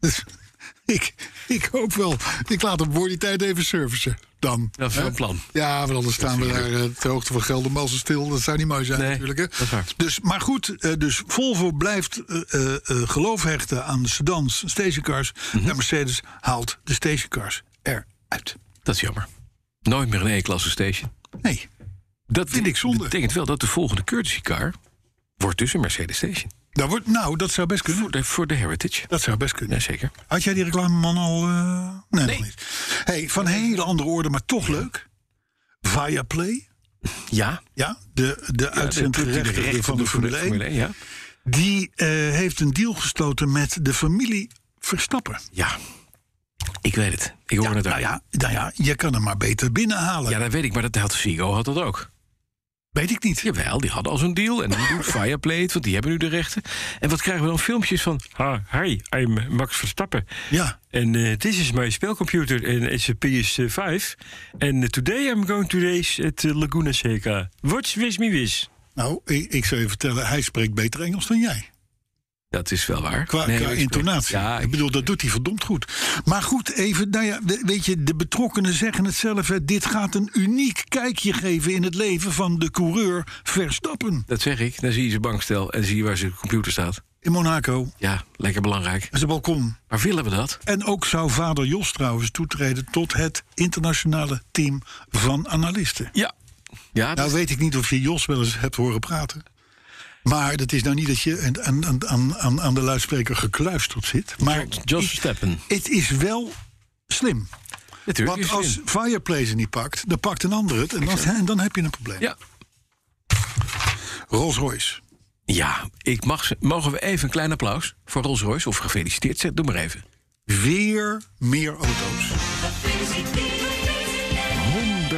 dus, ik, ik hoop wel. Ik laat hem voor die tijd even servicen. Dan. Dat is wel Hè? een plan. Ja, want anders staan we daar eh, ter hoogte van Geldermalsen stil. Dat zou niet mooi zijn Nee, natuurlijk. Hè? dat is waar. Dus, maar goed, eh, dus Volvo blijft eh, eh, eh, geloof hechten aan de sedans, stationcars. Mhm. En Mercedes haalt de stationcars eruit. Dat is jammer. Nooit meer een E-klasse station. Nee, Dat Vind ik zonde. betekent wel dat de volgende courtesy car wordt dus een Mercedes station. dat wordt, nou, dat zou best kunnen. Voor de, voor de Heritage. Dat zou best kunnen. Jazeker. Had jij die reclameman al? eh, Nee, nog niet. Hey, van hele andere orde, maar toch leuk. Viaplay, Ja. ja, de, de De uitzendgerechtigde rechten van de voor Formule 1... één, Ja. die eh, heeft een deal gesloten met de familie Verstappen. ja. Ik weet het. Ik hoor het nou, daar. ja, nou ja, je kan hem maar beter binnenhalen. Ja, dat weet ik, maar dat had Figo had dat ook. Weet ik niet. Jawel, die hadden al zo'n deal. En nu doet Fireplay het, want die hebben nu de rechten. En wat krijgen we dan? Filmpjes van... Ah, hi, I'm Max Verstappen. Ja, And uh, this is my spelcomputer, and it's a PS5. And uh, today I'm going to race at uh, Laguna Seca. Watch with me with. nou, ik, ik zou je vertellen, hij spreekt beter Engels dan jij. Dat is wel waar. Qua, Nee, qua maar ik- intonatie. Ja, ik bedoel, dat doet hij verdomd goed. Maar goed, even, nou ja, we- weet je, de betrokkenen zeggen het zelf. Hè, dit gaat een uniek kijkje geven in het leven van de coureur Verstappen dat zeg ik. Dan zie je zijn bankstel en zie je waar zijn computer staat. in Monaco. Ja, lekker belangrijk. En zijn balkon. Maar willen we dat? En ook zou vader Jos trouwens toetreden tot het internationale team van analisten. Ja. Ja, dat Nou weet ik niet of je Jos wel eens hebt horen praten. Maar dat is nou niet dat je aan, aan, aan- aan, aan de luidspreker gekluisterd zit. Maar Jos Steppen. het is wel slim. Natuurlijk. Want is als zin. Fireplace het niet pakt, dan pakt een ander het. En dan, en dan heb je een probleem. Ja. Rolls Royce. Ja, ik mag ze. Mogen we even een klein applaus voor Rolls Royce? Of gefeliciteerd, zeg, doe maar even. Weer meer auto's.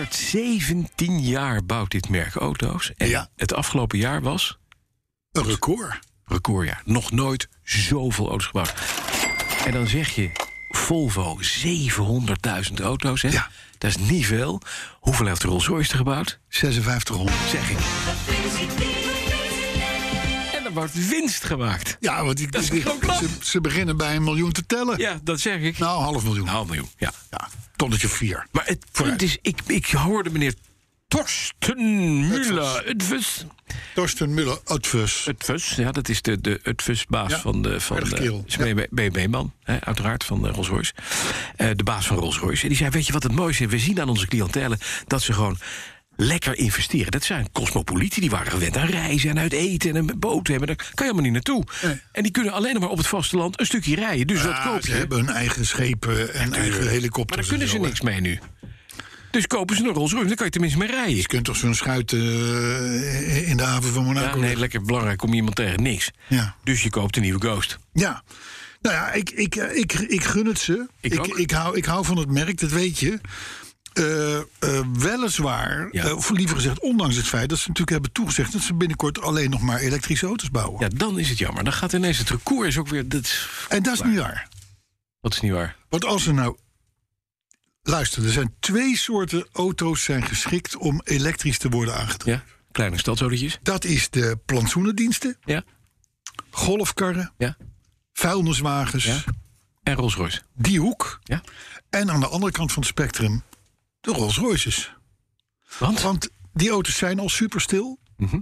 117 jaar bouwt dit merk auto's. En Ja. het afgelopen jaar was Een record. recordjaar. Nog nooit zoveel auto's gebouwd. En dan zeg je Volvo 700.000 auto's. Hè? Ja. Dat is niet veel. Hoeveel heeft Rolls Royce er gebouwd? 5600. Zeg ik. En er wordt winst gemaakt. Ja, want die, Dat is die- gewoon knap. ze, ze beginnen bij een miljoen te tellen. Ja, dat zeg ik. Nou, half miljoen. Nou, miljoen. Ja. Ja, tonnetje vier. Maar het Vooruit. punt is, ik, ik hoorde meneer Torsten Müller. Utfus. Torsten Muller, Advus. Utfus, ja, dat is de, de Utfus-baas Ja, van de... Van aardige de kerel. is BB-man, uiteraard, van eh, Rolls-Royce. Eh, de baas van Rolls-Royce. En die zei, weet je wat het mooiste is? We zien aan onze cliëntelen dat ze gewoon lekker investeren. Dat zijn cosmopolieten, die waren gewend aan reizen en uit eten en een boot hebben. Daar kan je helemaal niet naartoe. Nee. En die kunnen alleen nog maar op het vasteland een stukje rijden. Dus wat Ja, koop ze je? hebben hun eigen schepen en eigen helikopters. Maar daar en kunnen zo, ze hè. niks mee nu. Dus kopen ze een Rolls-Royce, dan kan je tenminste mee rijden. Je kunt toch zo'n schuit eh, in de haven van Ja, Monaco. nee, lekker belangrijk, kom je iemand tegen, niks. Ja. Dus je koopt een nieuwe Ghost. Ja. Nou ja, ik, ik, eh, ik, ik gun het ze. Ik ook. Ik, hou, ik hou van het merk, dat weet je. Eh, eh, weliswaar, Ja. eh, of liever gezegd, ondanks het feit dat ze natuurlijk hebben toegezegd dat ze binnenkort alleen nog maar elektrische auto's bouwen. Ja, dan is het jammer. Dan gaat ineens het record is ook weer... Dat is, En dat is niet waar. dat is niet waar. Want als er nou. Luister, er zijn twee soorten auto's zijn geschikt om elektrisch te worden aangedreven. Ja? Kleine stadsautootjes. Dat is de plantsoenendiensten, Ja? golfkarren, Ja? vuilniswagens, Ja. En Rolls Royce. die hoek. Ja? En aan de andere kant van het spectrum de Rolls Royces. Want? Want die auto's zijn al superstil. Mhm.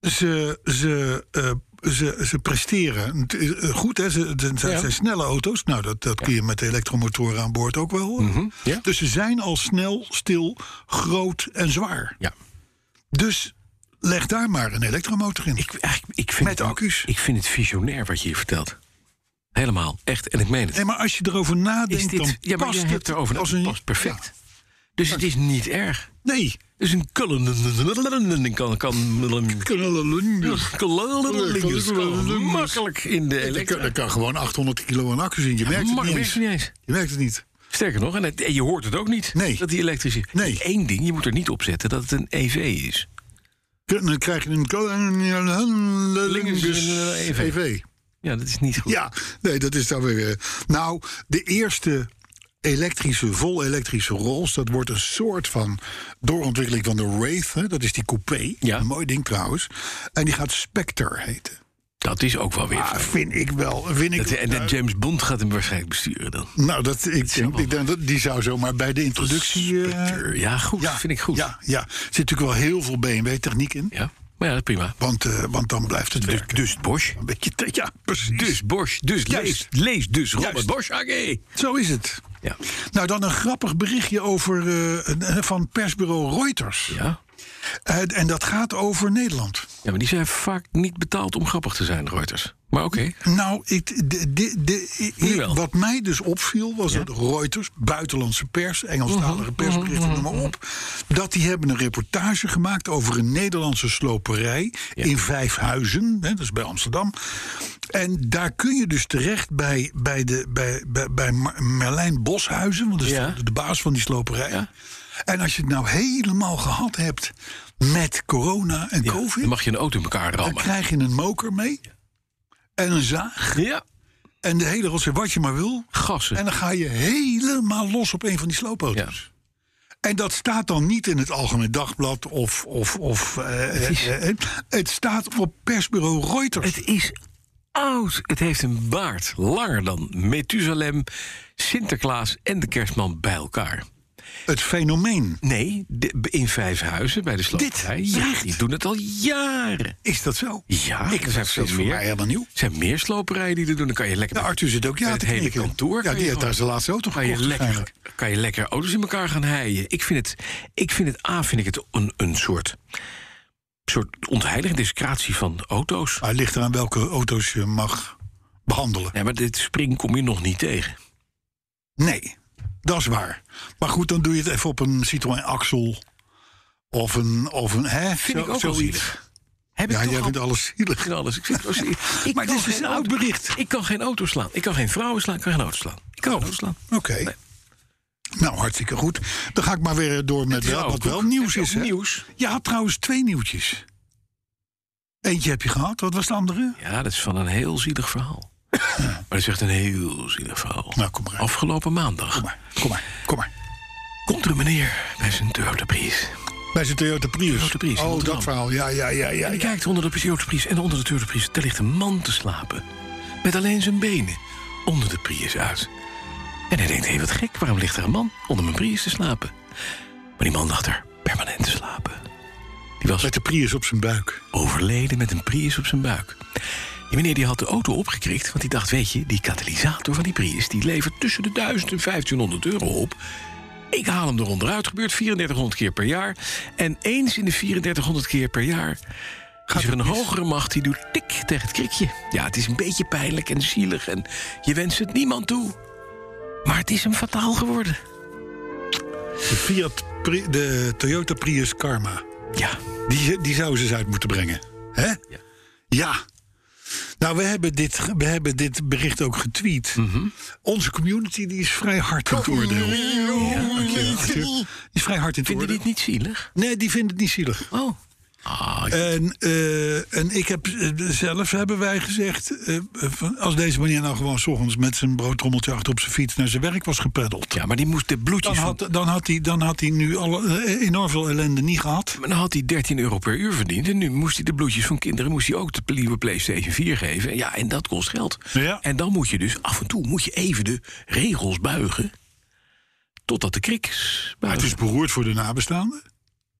Ze, ze, eh, ze, ze presteren Het is, eh, goed, hè? Ze, het zijn, Ja. zijn snelle auto's. Nou, dat, dat kun je met de elektromotoren aan boord ook wel. eh. Mhm. ja. Dus ze zijn al snel, stil, groot en zwaar. Ja. Dus leg daar maar een elektromotor in. Ik, eigenlijk, ik vind Met het, accu's. Ik vind het visionair wat je hier vertelt. Helemaal, echt. En ik meen het. Nee, maar als je erover is nadenkt, dan dit, ja, maar past je het hebt erover als als een... past perfect. Dus het is niet erg. Ja, nee. Het is een kullen... kan... kan Kullelingus. Makkelijk in de Er kan, elektro. er kan gewoon 800 kilo aan accu zien. Je merkt het niet Makkelijk, eens. werkt niet eens. Je merkt het niet. Sterker nog, en, het- en je hoort het ook niet. Nee. Dat die elektrisch is. Nee. Eén ding, je moet er niet op zetten dat het een EV is. Kun- Dan krijg je een... Lingus EV. EV. Ja, dat is niet goed. Ja, nee, dat is dan weer... eh, Nou, de eerste elektrische, vol elektrische Rolls... dat wordt een soort van doorontwikkeling van de Wraith. Hè? Dat is die coupé. Ja. Een mooi ding trouwens. En die gaat Spectre heten. Dat is ook wel weer... Ah, vind ik wel. Vind ik, dat, en dat James Bond gaat hem waarschijnlijk besturen dan. nou, dat, ik, denk, wel- ik denk dat die zou zomaar bij de introductie... eh, Spectre. ja, goed. ja, vind ik goed. Ja, ja, er zit natuurlijk wel heel veel BMW-techniek in. Ja. Maar ja, dat is prima. Want, eh, want dan blijft het Dus, werken. dus Bosch. Een beetje te- ja, precies. Dus Bosch. Dus lees, Juist. lees dus Robert Juist. Bosch AG. Zo is het. Ja. Nou, dan een grappig berichtje over, eh, een- van persbureau Reuters. ja. Eh, en dat gaat over Nederland. Ja, maar die zijn vaak niet betaald om grappig te zijn, Reuters. Maar oké. Nou, ik, de, de, de, ik- Nu wel. wat mij dus opviel was dat Reuters, buitenlandse pers, Mhm, Engelstalige persberichten, noem maar op, dat die hebben een reportage gemaakt over een Nederlandse sloperij in Vijfhuizen, hè, dat is bij Amsterdam. En daar kun je dus terecht bij, bij, de, bij, bij, bij Mar- Merlijn Boshuizen, want dat is Ja. de, de baas van die sloperij. En als je het nou helemaal gehad hebt met corona en Dan covid, mag je een auto in elkaar dan rammen. krijg je een moker mee. En een zaag. Ja. En de hele rotzooi, wat je maar wil. Gassen. En dan ga je helemaal los op een van die sloopauto's. En dat staat dan niet in het Algemeen Dagblad of... of, of eh, is- eh, eh, het staat op persbureau Reuters. Het is oud. Het heeft een baard langer dan Methusalem, Sinterklaas en de kerstman bij elkaar. Het fenomeen. Nee, de- in vijf huizen bij de sloterij. Dit ja, bericht. die doen het al jaren. Is dat zo? Ja, Ik er zijn vind veel het voor meer. mij helemaal nieuw. Er zijn meer sloperijen die dat doen. Dan kan je lekker Nou, met- Arthur zit ook ja met te het hele knikken. kantoor. Ja, kan die je heeft daar gewoon- zijn laatste auto kan je, gekocht. lekker, waarschijnlijk. kan je lekker auto's in elkaar gaan heien. Ik vind het, ik vind het A, vind ik het een, een soort, soort ontheilige discratie van auto's. Maar het ligt eraan welke auto's je mag behandelen. Nee, maar dit spring kom je nog niet tegen. Nee, dat is waar. Maar goed, dan doe je het even op een Citroën Axel. Of een... Of een hè, Vind zo- ik ook wel zoiets. zielig. Heb Ja, ik toch jij al- vindt alles zielig. in alles. Ik vind, als- ik- ik Maar kan dit is dus geen een oud auto- bericht. Ik kan geen auto slaan. Ik kan geen vrouwen slaan. Ik kan geen auto slaan. Ik kan geen auto slaan. Oké. Nee. Nou, hartstikke goed. Dan ga ik maar weer door met is wel, ook wat wel goed. nieuws Heb je is. ook hè? nieuws? Ja, trouwens, twee nieuwtjes. Eentje heb je gehad. Wat was de andere? Ja, dat is van een heel zielig verhaal. maar dat is echt een heel zielig verhaal. Nou, kom maar uit. Afgelopen maandag Kom maar, kom maar, kom maar. komt er een meneer bij zijn Toyota Prius. Bij zijn Toyota Prius. Toyota Prius in oh, Rotterdam. dat verhaal. Ja, ja, ja, ja. En hij ja. kijkt onder de Toyota Prius en onder de Toyota Prius... daar ligt een man te slapen. Met alleen zijn benen onder de Prius uit. En hij denkt, hé, wat gek, waarom ligt er een man onder mijn Prius te slapen? Maar die man lag er permanent te slapen. Die was Met de Prius op zijn buik. overleden met een Prius op zijn buik. Die meneer die had de auto opgekrikt, want die dacht, weet je... die katalysator van die Prius, die levert tussen de 1000 en 1500 euro op... Ik haal hem eronderuit, gebeurt 3400 keer per jaar. En eens in de 3400 keer per jaar gaat er een hogere macht die doet tik tegen het krikje. Ja, het is een beetje pijnlijk en zielig en je wenst het niemand toe. Maar het is hem fataal geworden. De Fiat, Pri- de Toyota Prius Karma. Ja, Die, die zouden ze eens uit moeten brengen. Hè? Ja. Nou, we hebben, dit, ge- we hebben dit bericht ook getweet. Onze community die is vrij hard in het oordeel. Ja, dankjewel, Arthur. Die is vrij hard in het vinden oordeel. dit niet zielig? Nee, die vinden het niet zielig. Oh. Ah, En, eh, en ik heb eh, zelf hebben wij gezegd... eh, van, als deze meneer nou gewoon 's ochtends met zijn broodtrommeltje achter op zijn fiets... naar zijn werk was gepeddeld... ja, maar die moest de bloedjes Dan van... had, dan, had hij, dan had hij nu alle, eh, enorm veel ellende niet gehad. Maar dan had hij 13 euro per uur verdiend. En nu moest hij de bloedjes van kinderen moest hij ook de nieuwe PlayStation 4 geven. En Ja, en dat kost geld. Ja. En dan moet je dus af en toe moet je even de regels buigen. Totdat de krieks. Maar het is beroerd voor de nabestaanden.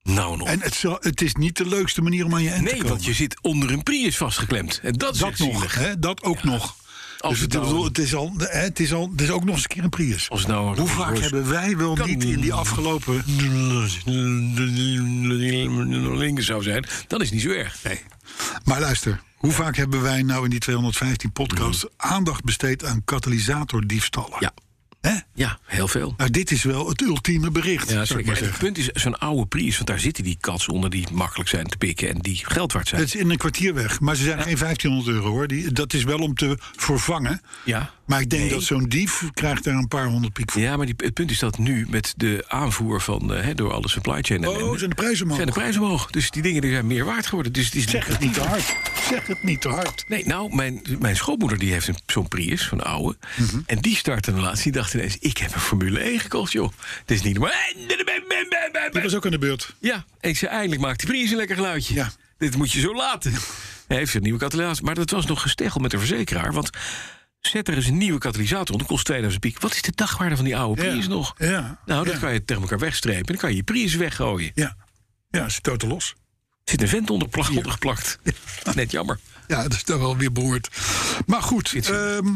Nou nog. En het, zal, het is niet de leukste manier om aan je end te nee, komen. want je zit onder een Prius vastgeklemd. En dat is dat echt nog, zielig. hè? dat ook nog. Als Dus het het, nou- bedoel, het, is al, hè, het, is al, het is ook nog eens een keer een Prius. Als het nou Hoe vaak hebben wij wel Kan niet in die afgelopen... linker zou zijn, dan is niet zo erg. Nee. Maar luister, hoe vaak hebben wij nou in die 215 podcasts... aandacht besteed aan katalysatordiefstallen? Mm. Ja. Hè? Ja, heel veel. Nou, dit is wel het ultieme bericht, Ja, zou ik zeker. maar En het zeggen. punt is, zo'n oude Prius, want daar zitten die katsen onder die makkelijk zijn te pikken en die geld waard zijn. Het is in een kwartier weg, maar ze zijn geen 1500 euro hoor. Die, dat is wel om te vervangen. Ja. Maar ik denk dat zo'n dief krijgt daar een paar honderd piek voor. Ja, maar die, het punt is dat nu met de aanvoer van, eh, hè, door alle supply chain... en- Oh, en- zijn de prijzen zijn de man. prijzen omhoog. Dus die dingen die zijn meer waard geworden. Dus het is Zeg het niet te hard. Zeg het niet te hard. Nee, nou, mijn, mijn schoonmoeder die heeft een- zo'n Prius, van oude. Mhm. En die startte de laatste. Die dacht ineens, ik heb een Formule 1 gekocht, joh. Het is niet normaal. Die was ook aan de beurt. Ja, en ik zei, eindelijk maakt die Prius een lekker geluidje. Ja. Dit moet je zo laten. Hij heeft een nieuwe katalysator. Maar dat was nog gesteggel met de verzekeraar. Want zet er eens een nieuwe katalysator op. Dat kost 2000 piek. Wat is de dagwaarde van die oude Prius nog? Ja. Nou, dat ja. kan je tegen elkaar wegstrepen. Dan kan je je Prius weggooien. Ja, ja ze stoten los. Zit een vent onder, plak, ondergeplakt. Net jammer. Ja, dat is dan wel weer behoord. Maar goed, Iets- ehm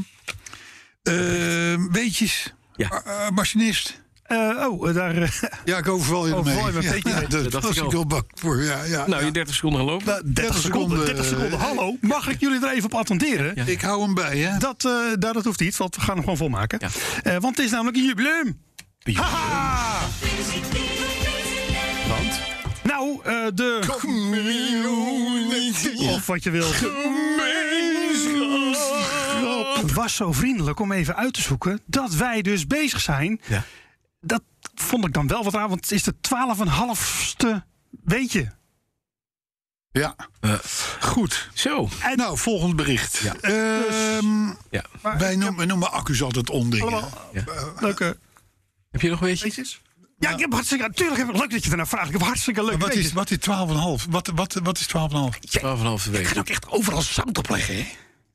ehm, weetjes. Ja. Eh, eh, machinist. Eh, oh, eh, daar. eh, Ja, ik overval je Overval ermee. je me een beetje ja, mee. dat Dat dacht was ik ik al. wel bang voor. Ja, ja, Nou, ja. je 30 seconden gelopen. Nou, 30, 30 Eh, seconden. 30 seconden. eh, Hallo, mag ik jullie er even op attenderen? Ik hou hem bij, hè? Dat, eh, nou, dat hoeft niet, want we gaan hem gewoon volmaken. Ja. Eh, want het is namelijk een jubileum. Haha! Want? Nou, eh, de... Of wat je wilt. Het was zo vriendelijk om even uit te zoeken dat wij dus bezig zijn. Ja. Dat vond ik dan wel wat raar, want het is de 12,5ste weetje. Ja. Goed. Zo. Nou, volgend bericht. Ehm, Dus- Ja. Maar wij ik heb noemen, wij noemen accu's altijd ondingen. allemaal Ja. leuke Heb je nog een beetje? weetjes. Ja, ik heb hartstikke... Natuurlijk, heb ik- leuk dat je ernaar vraagt. Ik heb hartstikke leuk Maar wat weetjes. is, wat is 12,5? Wat, wat, wat is 12,5? 12,5 weken. ook echt overal zout op leggen, hè?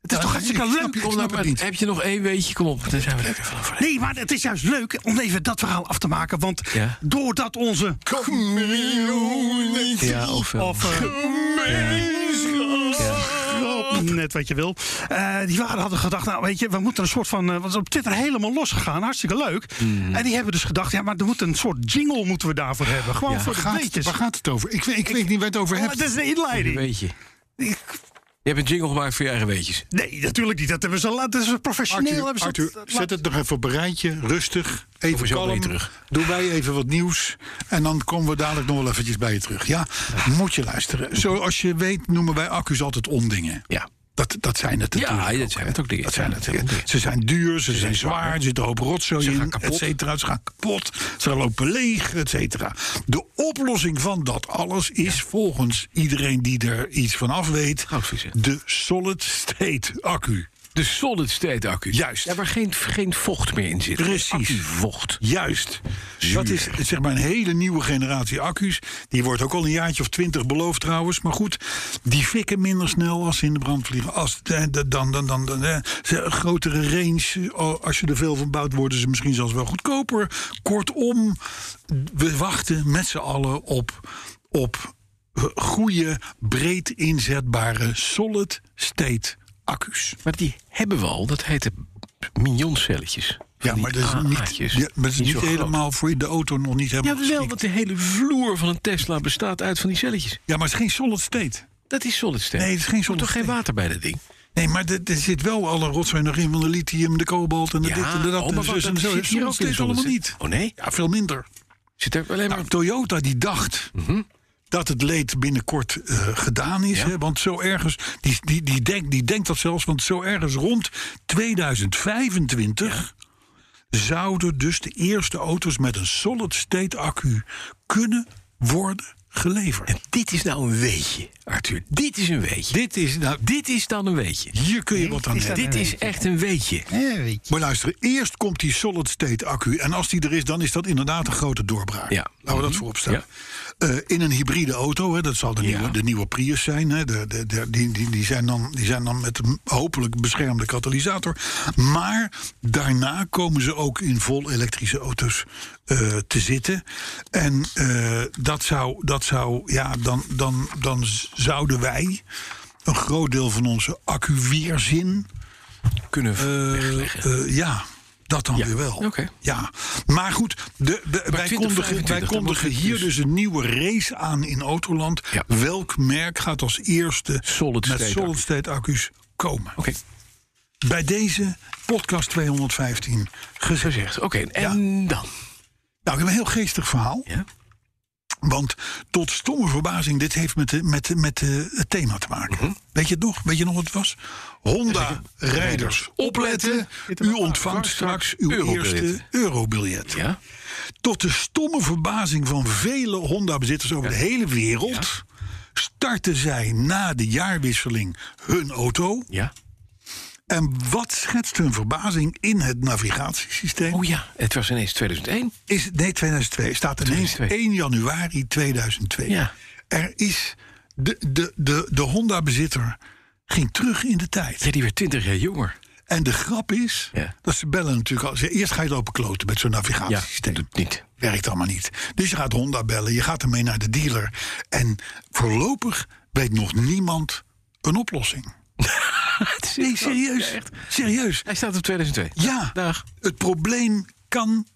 Het is toch hartstikke ik snap leuk? je- ik om- snap het niet. Heb je nog één weetje? Kom op, daar zijn we lekker vanaf. Nee, maar het is juist leuk om even dat verhaal af te maken. Want Ja. doordat onze... Ja, of wel. Of... eh, ja. Net wat je wil. Eh, die waren, hadden gedacht, nou weet je, we moeten een soort van... eh, want het is op Twitter helemaal losgegaan, hartstikke leuk. En die hebben dus gedacht, ja, maar er moet een soort jingle moeten we daarvoor hebben. Gewoon voor de Gaat het, weetjes. waar gaat het over? Ik, weet- ik weet niet waar je het over Oh, Maar hebt. dat is de Een inleiding. weetje. Je hebt een jingle gemaakt voor je eigen weetjes. Nee, natuurlijk niet. Dat hebben ze, laten ze professioneel. Arthur, hebben ze Arthur, dat- zet het nog even op een rijtje. Rustig. Kom Even zo bij kalm. je terug. Doen wij even wat nieuws. En dan komen we dadelijk nog wel eventjes bij je terug. Ja, moet je luisteren. Zoals je weet noemen wij accu's altijd ondingen. Ja. Dat, dat zijn het natuurlijk ja, dat ook, zijn hè. het ook dingen. Dat zijn het, Ja, hè. ondingen. Ze zijn duur, ze, zijn zwaar, er zit een hoop rotzooi Ze gaan in, kapot. et cetera. Ze gaan kapot, ze lopen leeg, et cetera. De oplossing van dat alles is volgens iedereen die er iets van af weet... Goudvis, hè. de solid state accu. De solid state accu. Juist. Ja, waar geen, geen vocht meer in zit. Precies. vocht. Juist. Dat is zeg maar een hele nieuwe generatie accu's. Die wordt ook al een jaartje of twintig beloofd trouwens. Maar goed, die fikken minder snel als ze in de brand vliegen. Als, eh, dan, dan, dan, dan, eh, ze- grotere range. Oh, Als je er veel van bouwt, worden ze misschien zelfs wel goedkoper. Kortom, we wachten met z'n allen op, op eh, goede, breed inzetbare solid state accu's. Maar die hebben we al. Dat heette mignoncelletjes. Van Ja, die maar dat is niet, AA'tjes. ja, maar dat is niet, zo groot. helemaal voor de auto nog niet helemaal Jawel, geschikt. want de hele vloer van een Tesla bestaat uit van die celletjes. Ja, maar het is geen solid state. Dat is solid state. Nee, het is geen Er solid moet toch state. geen water bij dat ding? Nee, maar er er zit wel alle rotzooi nog in van de lithium, de kobalt en de Ja, dit en de dat. oh, en maar de wacht, zus en dat zo. zit hier Solid ook in state solid allemaal niet. state. Oh, nee? Ja, veel minder. Zit er alleen maar... Nou, Toyota die dacht Mhm. dat het leed binnenkort eh, gedaan is. Hè, want zo ergens, die, die, die, denkt, die denkt dat zelfs, want zo ergens rond 2025 zouden dus de eerste auto's met een solid state accu kunnen worden geleverd. Dit is nou een weetje, Arthur. Dit is een weetje. dit is, nou, Dit is dan een weetje. hier kun je wat aan hebben. Dit is echt een weetje. Maar luister, eerst komt die solid state accu. En als die er is, dan is dat inderdaad een grote doorbraak. Ja. Laten we dat voorop stellen. eh, in een hybride auto, hè, dat zal de, nieuwe, de nieuwe Prius zijn. Hè, de, de, de- die, die, die, zijn dan, die zijn dan met een hopelijk beschermde katalysator. Maar daarna komen ze ook in vol elektrische auto's eh, te zitten. En eh, dat zou, dat zou ja, dan, dan, dan zouden wij een groot deel van onze accuweerzin Kunnen eh, eh, ja, dat dan weer wel. Oké. Ja. Maar goed, de, de, wij 20, kondigen, 25, wij dan kondigen wordt het hier dus- dus een nieuwe race aan in Autoland. Ja. Welk merk gaat als eerste Solid met state solid accu's. state accu's komen? Oké, Bij deze podcast 215 gezegd. gezegd. Oké, en dan? Nou, ik heb een heel geestig verhaal. Ja? Want tot stomme verbazing, dit heeft met, de, met, de- met de- het thema te maken. Mhm. Weet je het nog? Weet je nog wat het was? Honda rijders, opletten. U ontvangt straks uw Eurobiljet. eerste eurobiljet. Ja? Tot de stomme verbazing van vele Honda-bezitters over de hele wereld... starten zij na de jaarwisseling hun auto. Eh, Ja? En wat schetst hun verbazing in het navigatiesysteem? Oh ja, het was ineens 2001. Is, nee, 2002. Staat ineens 2002. 1 januari 2002. Ja. Er is... De, de, de, de Honda-bezitter ging terug in de tijd. Ja, die werd 20 jaar jonger. En de grap is... Ja. dat ze bellen natuurlijk al... ze- Eerst ga je lopen kloten met zo'n Ja, navigatiesysteem. dat doet niet. Werkt allemaal niet. Dus je gaat Honda bellen, je gaat ermee naar de dealer. En voorlopig weet nog niemand een oplossing. Nee, serieus. Serieus. Hij staat op 2002. Ja, Dag. het probleem kan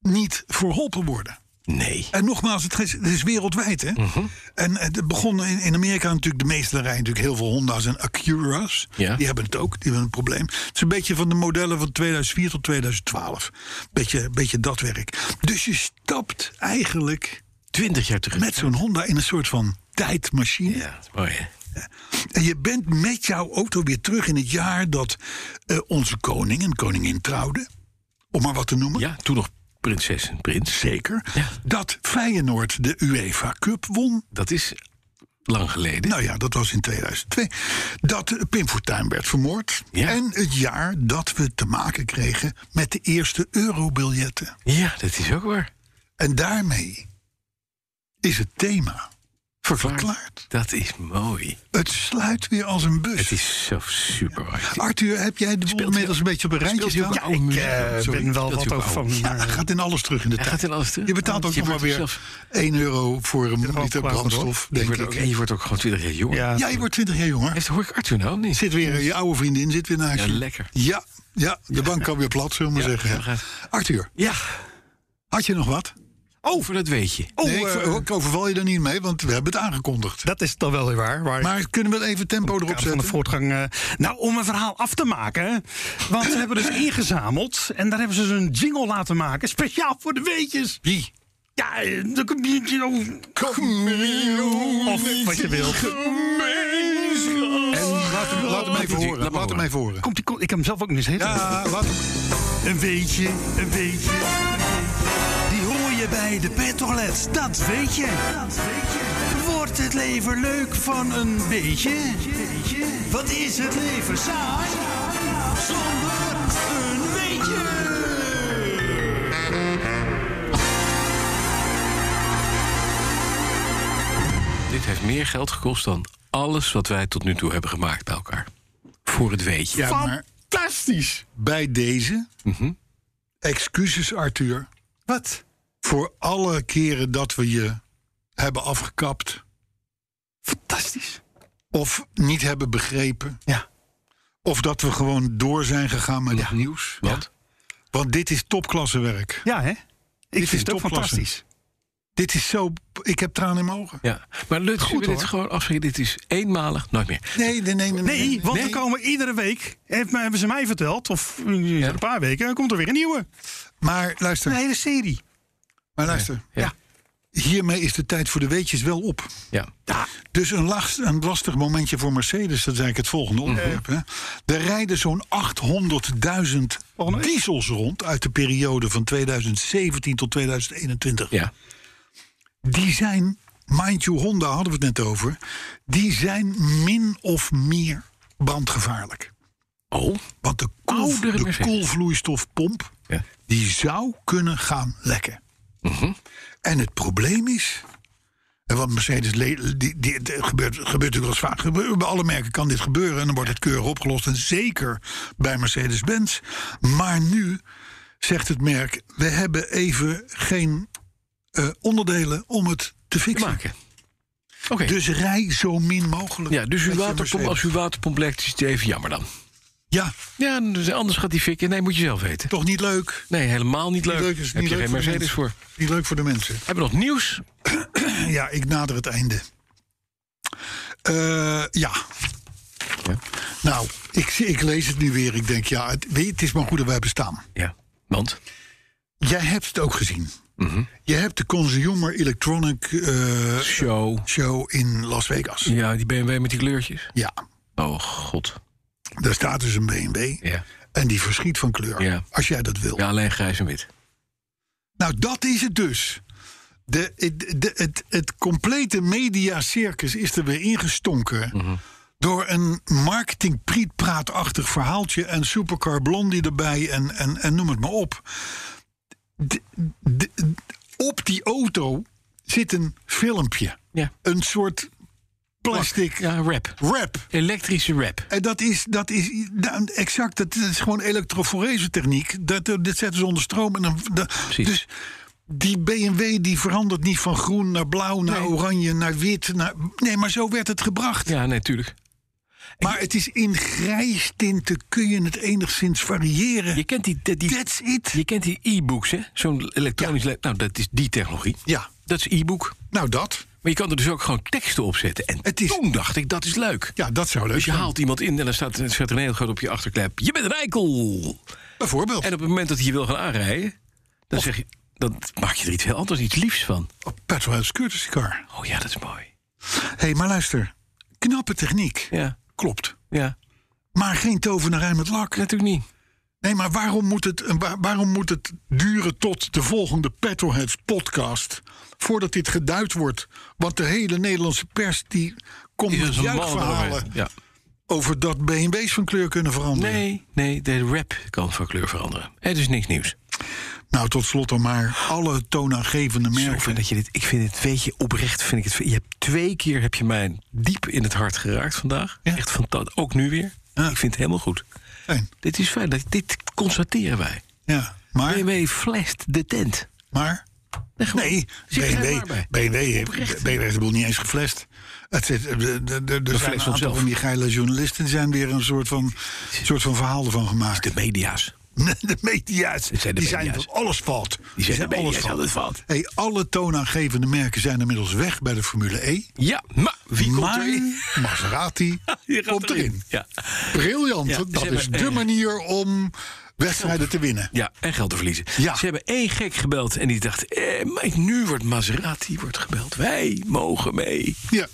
niet verholpen worden. Nee. En nogmaals, het is, het is wereldwijd. Hè? Mhm. En het begon in, in Amerika natuurlijk de meeste rijden natuurlijk heel veel Honda's en Acura's. Ja. Die hebben het ook, die hebben een probleem. Het is een beetje van de modellen van 2004 tot 2012. Beetje, beetje dat werk. Dus je stapt eigenlijk 20 jaar terug. met zo'n Honda in een soort van tijdmachine. Oh Ja, dat is mooi hè. En je bent met jouw auto weer terug in het jaar dat eh, onze koning en koningin trouwden. Om maar wat te noemen. Ja, toen nog prinses en prins. Zeker. Ja. Dat Feyenoord de UEFA Cup won. Dat is lang geleden. Nou ja, dat was in 2002. Dat eh, Pim Fortuyn werd vermoord. Ja. En het jaar dat we te maken kregen met de eerste eurobiljetten. Ja, dat is ook waar. En daarmee is het thema Verklaard. verklaard. Dat is mooi. Het sluit weer als een bus. Het is zo super waar. Arthur, heb jij de boel Speelt inmiddels u- een beetje op een rijtje speelt u ook staan? oude Ja, ik, muziek? eh, Ik ben wel wat over van. Ja, hij maar- gaat in alles terug in de Hij tijd. gaat in alles terug. Je betaalt ook Je nog maar wordt weer zelf- 1 euro voor een wel liter kwaad, hoor. brandstof, Je denk wordt ook, en ik. je wordt ook gewoon 20 jaar jonger. Ja, Ja, je wordt 20 jaar jonger. Heeft hoor ik Arthur nou of niet? Zit weer, je oude vriendin zit weer naast Ja, je. lekker. Ja, ja, de bank kan weer plat, zullen we maar Ja, zeggen. zo ja. gaat Arthur, Ja. had je nog wat? Oh, voor dat weet je. nee, ik, eh, ver- oh. ik overval je er niet mee, want we hebben het aangekondigd. dat is dan wel weer waar. waar ik- Maar kunnen we even tempo erop kader van de zetten? voortgang. eh, nou, om een verhaal af te maken. Want ze hebben dus ingezameld. En daar hebben ze dus een jingle laten maken. Speciaal voor de weetjes. Wie? Ja, eh, de community. Of wat je wilt. En laat hem, laat hem even Laat horen. maar Laat hem even horen. Komt die, kom- ik heb hem zelf ook niet eens heten. Ja, laat hem. Een beetje, een beetje. Die hoor je bij de petrolets, dat weet je. Wordt het leven leuk van een beetje? Wat is het leven saai? Zonder een beetje. Dit heeft meer geld gekost dan alles wat wij tot nu toe hebben gemaakt bij elkaar. Voor het weetje. Ja, maar Fantastisch. bij deze. Excuses, Arthur. Wat? Voor alle keren dat we je hebben afgekapt. Fantastisch. Of niet hebben begrepen. Ja. Of dat we gewoon door zijn gegaan met het nieuws. Want? Want dit is topklassewerk. Ja, hè? Ik is vind het ook topklasse. fantastisch. Dit is zo. Ik heb tranen in mijn ogen. Ja. Maar Lutz, Goed, Goed, dit hoor. gewoon afschieten. Dit is eenmalig, nooit meer. Nee, nee, nee. nee, Nee, want nee. er komen iedere week, heeft, mij- hebben ze mij verteld, of eh, een paar weken, komt er weer een nieuwe. Maar luister, Een hele serie. maar luister. Ja. Hiermee is de tijd voor de weetjes wel op. Ja. Dus een, last, een lastig momentje voor Mercedes, dat is eigenlijk het volgende Mhm. onderwerp. Hè. Er rijden zo'n 800.000 Volgende week. diesels rond uit de periode van 2017 tot 2021. Ja. Die zijn, mind you, Honda hadden we het net over, die zijn min of meer brandgevaarlijk. Oh. Want de, koel- Oudere de Mercedes. koelvloeistofpomp Ja. Mhm. die zou kunnen gaan lekken. En het probleem is En Want Mercedes, le- die, die, het gebeurt, gebeurt natuurlijk wel eens vaak. Gebe- Bij alle merken kan dit gebeuren en dan wordt het keurig opgelost. En zeker bij Mercedes-Benz. Maar nu zegt het merk, we hebben even geen eh, onderdelen om het te te fixen. maken. Oké. Dus rij zo min mogelijk. ja, dus uw met je waterpomp, Mercedes. als uw waterpomp lekt, is het even jammer dan. Ja, Ja, dus anders gaat die fikken. Nee, moet je zelf weten. toch niet leuk. Nee, helemaal niet leuk. Niet leuk is Heb niet je leuk geen voor de Mercedes voor. mensen. Niet leuk voor de mensen. Hebben we nog nieuws? Ja, ik nader het einde. Eh, ja. Ja. Nou, ik, zie- ik lees het nu weer. Ik denk, ja, het, weet je, het is maar goed dat wij bestaan. Ja. Want? Jij hebt het ook gezien. Mhm. Je hebt de Consumer Electronic eh, Show. Show in Las Vegas. Ja. Ja, die BMW met die kleurtjes. Oh, god. daar staat dus een BMW. Ja. En die verschiet van kleur. Ja. Als jij dat wil. Ja, alleen grijs en wit. Nou, dat is het dus. De, het- de- het, het complete mediacircus is er weer ingestonken. Door een marketingprietpraatachtig verhaaltje en supercar blondie erbij en, en, en noem het maar op. De- de- op die auto zit een filmpje. Ja. Een soort plastic Ja, rap. wrap. Elektrische rap. En Eh, dat is, dat is nou, exact, dat is gewoon elektroforese techniek. Dat, dat zetten ze onder stroom. En dan, dat- Precies. dus die BMW die verandert niet van groen naar blauw, naar oranje, naar wit. Naar, nee, maar zo werd het gebracht. Ja, nee, tuurlijk. Maar het is in grijstinten kun je het enigszins variëren. Je kent die, die, die- That's it. je kent die e-books, hè? Zo'n elektronisch... le- Nou, dat is die technologie. Ja, Dat is e-book. nou dat. Maar je kan er dus ook gewoon teksten op zetten. En Het is- toen dacht ik, dat is leuk. Ja, dat zou leuk Dus je zijn. haalt iemand in en dan staat, staat er een heel groot op je achterklep. Je bent een eikel! Bijvoorbeeld. En op het moment dat hij je wil gaan aanrijden... dan zeg je... dan maak je er iets heel anders, iets liefs van. oh, Petrolheads Courtesy Car. Oh ja, dat is mooi. Hé, hey, maar luister. Knappe techniek. Ja, Klopt. ja. Maar geen tovenarij met lak. Natuurlijk niet. Nee, maar waarom moet het, eh, waar- waarom moet het duren tot de volgende Petrolheads podcast... voordat dit geduid wordt? Want de hele Nederlandse pers die komt Dit met is een man juichverhalen... erover. Ja. over dat BMW's van kleur kunnen veranderen. Nee, nee, de rap kan van kleur veranderen. Het is niks nieuws. Nou, tot slot dan maar alle toonaangevende Zo fijn merken. dat je dit. Ik vind het, weet je, oprecht vind ik het. Je hebt twee keer heb je mij diep in het hart geraakt vandaag. Ja. Echt fantastisch. Ook nu weer. Ja. Ik vind het helemaal goed. Fijn, Dit is fijn. dat- Dit constateren wij. ja. Maar, BMW flasht de tent. maar... gewoon. Nee, Zit er BMW, maar bij. BMW, heeft, BMW heeft de boel niet eens geflasht. Het zit, er- er- er- er zijn een flesht aantal onszelf. van die geile journalisten... die zijn weer een soort van, soort van verhaal ervan gemaakt. De media's. Nee, De media's. Het zijn de die zijn media's. van alles fout. Die de media's altijd fout. Hey, alle toonaangevende merken zijn inmiddels weg bij de Formule E. Ja, maar wie komt maar erin? Maserati Je gaat komt erin. Ja. Briljant. Ja, dat ze is hebben- de manier om wedstrijden te winnen. ja, en geld te verliezen. Ja. Ze hebben één gek gebeld en die dacht... Eh, maar nu wordt Maserati wordt gebeld. Wij mogen mee. Ja.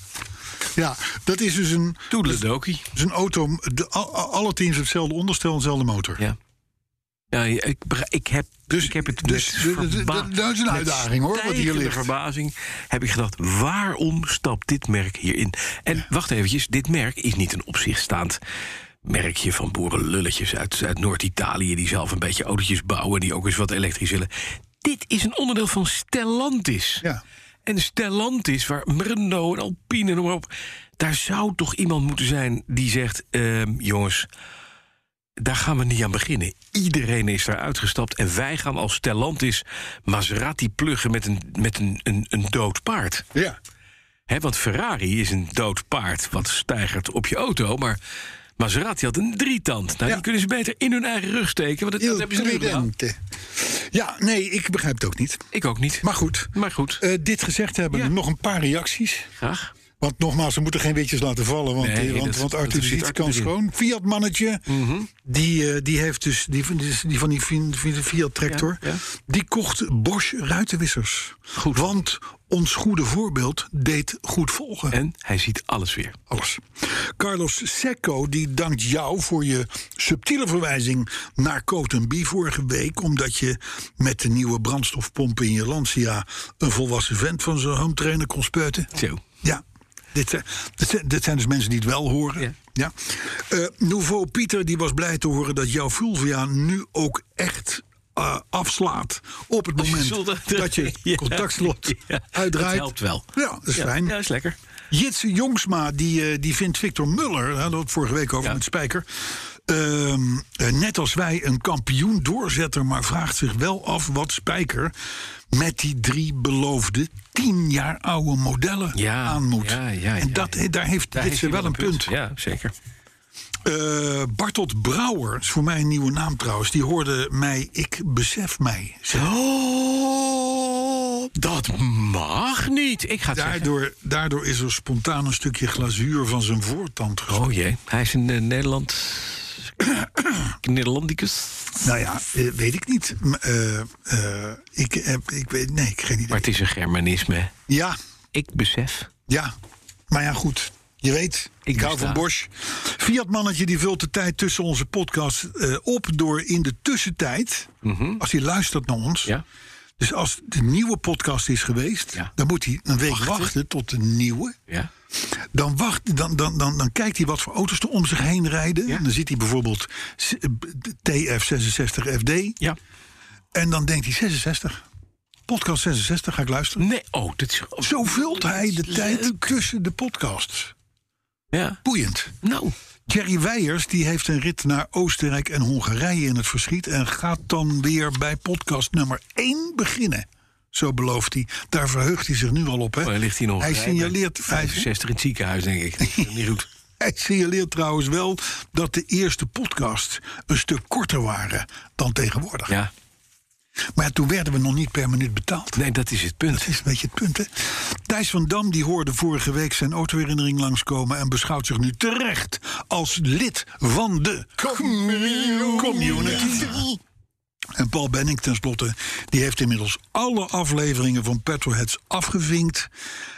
ja, dat is dus een, Toedeledokie. dus een auto. De, al- al- alle teams hebben hetzelfde onderstel en dezelfde motor. Ja. Ja, ik, bega- ik, heb, Dus- ik heb het dus met d- d- d- verba- dat is een met uitdaging, hoor, wat hier stijgende ligt. verbazing heb ik gedacht, waarom stapt dit merk hierin? En wacht eventjes, dit merk is niet een op zich staand merkje van boerenlulletjes uit, uit Noord-Italië... die zelf een beetje autootjes bouwen, die ook eens wat elektrisch willen. Dit is een onderdeel van Stellantis. Ja. En Stellantis, waar Renault en Alpine en noem maar op... daar zou toch iemand moeten zijn die zegt... ehm, jongens, daar gaan we niet aan beginnen. Iedereen is daar uitgestapt en wij gaan als Stellantis Maserati pluggen met een, met een, een, een dood paard. Ja. Hè, want Ferrari is een dood paard wat stijgert op je auto, maar Maserati had een drietand. Nou, Ja. die kunnen ze beter in hun eigen rug steken, want dat, dat hebben ze nu gedaan. Tridente. Ja, nee, ik begrijp het ook niet. Ik ook niet. Maar goed, Maar goed, eh, dit gezegd hebben, Ja. nog een paar reacties. graag. Want nogmaals, we moeten geen witjes laten vallen. Want, Nee, eh, want, dat- want dat Arthur zit de Ziet Arthur Mhm. kan erin. schoon. Fiat mannetje. Die, eh, die heeft dus die, van- die, die van die Fi- Fi- Fiat tractor. Ja, ja. Die kocht Bosch ruitenwissers. Goed. Want ons goede voorbeeld deed goed volgen. En hij ziet alles weer. Alles. Carlos Secco die dankt jou voor je subtiele verwijzing naar Coton B vorige week. Omdat je met de nieuwe brandstofpomp in je Lancia een volwassen vent van zijn home trainer kon spuiten. Zo. Ja. Dit, zijn- dit, zijn, dit zijn dus mensen die het wel horen. Ja. Ja. Eh, Nouveau Pieter die was blij te horen dat jouw Fulvia nu ook echt eh, afslaat op het moment soldaat- dat je Ja. contactslot Ja, uitdraait. dat helpt wel. Ja, dat is fijn. Ja, is lekker. Jitse Jongsma, die, eh, die vindt Victor Muller, daar hadden we het vorige week over Ja. met Spijker. ehm, eh, net als wij een kampioen doorzetter, maar vraagt zich wel af wat Spijker met die drie beloofde tien jaar oude modellen Ja, aan moet. ja, ja, en ja, dat, ja. daar heeft Daar heeft Jitse hij wel een punt. Ja, zeker. Eh, Bartelt Brouwer, is voor mij een nieuwe naam trouwens, die hoorde mij, ik besef mij. zeggen. Oh, dat mag niet. Ik ga het zeggen. Daardoor, daardoor is er spontaan een stukje glazuur van zijn voortand geschoten. Oh jee, hij is een eh, Nederland... Nederlandicus. Nou ja, eh, weet ik niet. M- eh, eh, ik, heb, ik weet, nee, ik geen idee. Maar het is een Germanisme. Ja, Ik besef. ja. Maar ja, goed. Je weet, ik, hou besta. van Bosch. Fiat-mannetje die vult de tijd tussen onze podcast eh, op... door in de tussentijd, als hij luistert naar ons... Mhm. Ja? dus als de nieuwe podcast is geweest... Ja. dan moet hij een week wachten, tot de nieuwe. Ja? Dan, wacht, dan, dan, dan, dan kijkt hij wat voor auto's er om zich heen rijden. En Dan ziet hij bijvoorbeeld s- eh, b- TF66FD. Ja. En dan denkt hij 66. Podcast 66 ga ik luisteren. Nee, oh, dat is... Zo vult hij de tijd tussen de podcasts. Ja. Boeiend. Nou, Jerry Weijers die heeft een rit naar Oostenrijk en Hongarije in het verschiet... en gaat dan weer bij podcast nummer 1 beginnen. Zo belooft hij. Daar verheugt hij zich nu al op. Hè? hij Oh, ligt hier nog. Hij signaleert, hij, 65 in het ziekenhuis, denk ik. Dat is niet goed. hij signaleert trouwens wel dat de eerste podcasts een stuk korter waren dan tegenwoordig. Ja. Maar ja, toen werden we nog niet per minuut betaald. Nee, dat is het punt. Dat is een beetje het punt, hè? Thijs van Dam die hoorde vorige week zijn autoherinnering langskomen... en beschouwt zich nu terecht als lid van de community. En Paul Benning tenslotte, die heeft inmiddels alle afleveringen van Petroheads afgevinkt.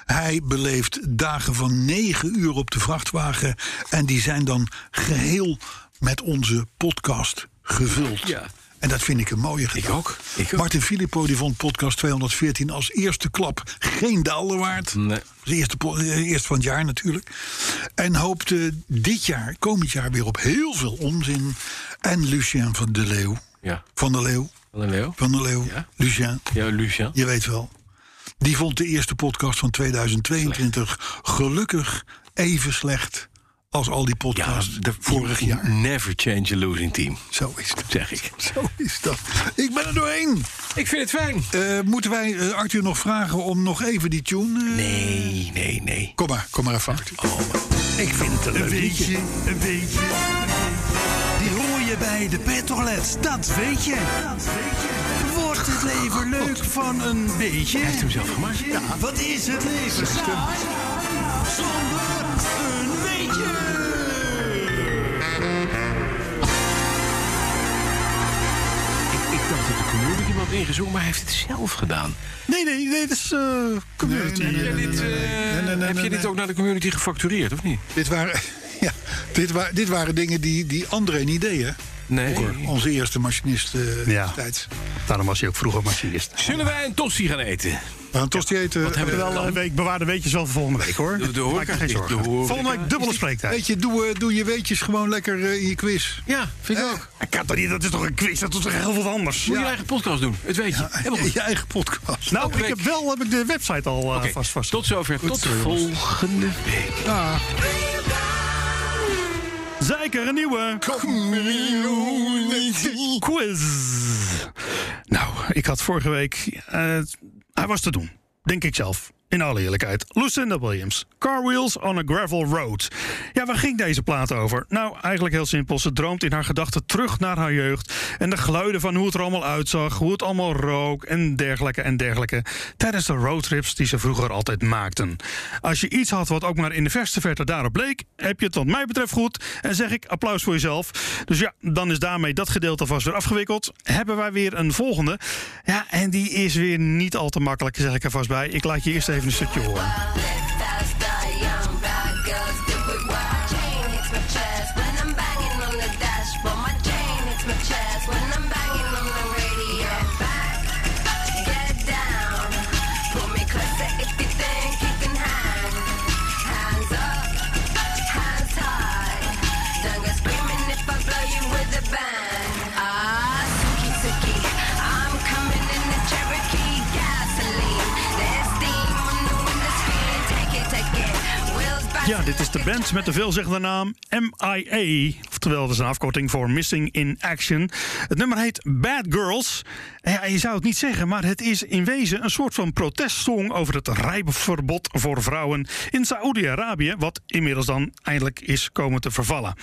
Hij beleeft dagen van negen uur op de vrachtwagen... en die zijn dan geheel met onze podcast gevuld. Ja. En dat vind ik een mooie gedachte. ook, ik ook. Martin Filippo die vond podcast 214 als eerste klap geen daalder waard. Nee. De eerste, po- eh, eerst van het jaar natuurlijk. En hoopte dit jaar, komend jaar, weer op heel veel onzin. En Lucien van de Leeuw. Ja. Van de Leeuw. Van der Leeuw? Van de Leeuw. Ja. Lucien, Ja, Lucien. je weet wel. Die vond de eerste podcast van 2022 gelukkig even slecht als al die podcasts vorig jaar. Never change a losing team, Zo is het. zeg ik. Zo is dat. Ik ben er doorheen. Ik vind het fijn. Eh, moeten wij eh, Arthur nog vragen om nog even die tune? eh, Nee, nee, nee. Kom maar, kom maar even, Arthur. Ik vind het een Een beetje, een beetje. Die hoor je bij de petrolets, dat weet je. Wordt het leven leuk van een beetje? Hij heeft hem zelf gemaakt. Ja, wat is het leven saai zonder een beetje? Ik dacht dat de community iemand ingezongen, maar hij heeft het zelf gedaan. Nee, nee, nee, dat is eh, community. heb je dit ook naar de community gefactureerd, of niet? Dit waren, ja, dit wa- dit waren dingen die, die André niet deed, hè? Nee. Vroeger, onze eerste machinist eh Ja. tijd. Daarom was hij ook vroeger machinist. Zullen wij een tosti gaan eten? We gaan tosti eten. Wat hebben we eh, dan? Wel, eh, ik bewaar de weetjes wel voor volgende week De, hoor. de Maak je horeca geen de zorgen. horeca- Volgende week dubbele spreektijd. Weet je, doe, eh, doe je weetjes gewoon lekker eh, in je quiz. Eh, Ja, vind ik ook. Moet Ik kan toch niet, dat is toch een quiz, dat is toch heel veel anders. je je eigen podcast doen, het weet je. Helemaal Je goed. eigen podcast. Nou, Elke ik heb week. wel heb ik de website al eh, Oké, vast vast. Tot zover, tot volgende week. Zeker een nieuwe quiz. Nou, ik had vorige week. eh, hij was te doen, denk ik zelf. In alle eerlijkheid. Lucinda Williams. Car Wheels on a Gravel Road. Ja, waar ging deze plaat over? Nou, eigenlijk heel simpel. Ze droomt in haar gedachten terug naar haar jeugd. En de geluiden van hoe het er allemaal uitzag, hoe het allemaal rook en dergelijke en dergelijke. Tijdens de roadtrips die ze vroeger altijd maakten. Als je iets had wat ook maar in de verste verte daarop bleek, heb je het wat mij betreft goed. En zeg ik applaus voor jezelf. Dus ja, dan is daarmee dat gedeelte vast weer afgewikkeld. Hebben wij weer een volgende. Ja, en die is weer niet al te makkelijk, zeg ik er vast bij. Ik laat je eerst even een stukje horen. Screaming if I blow you with a band. Ah, suki suki. Ja, dit is de band met de veelzeggende naam MIA. Oftewel, dat is een afkorting voor Missing in Action. Het nummer heet Bad Girls. Ja, je zou het niet zeggen, maar het is in wezen een soort van protestsong over het rijverbod voor vrouwen in Saoedi-Arabië. Wat inmiddels dan eindelijk is komen te vervallen.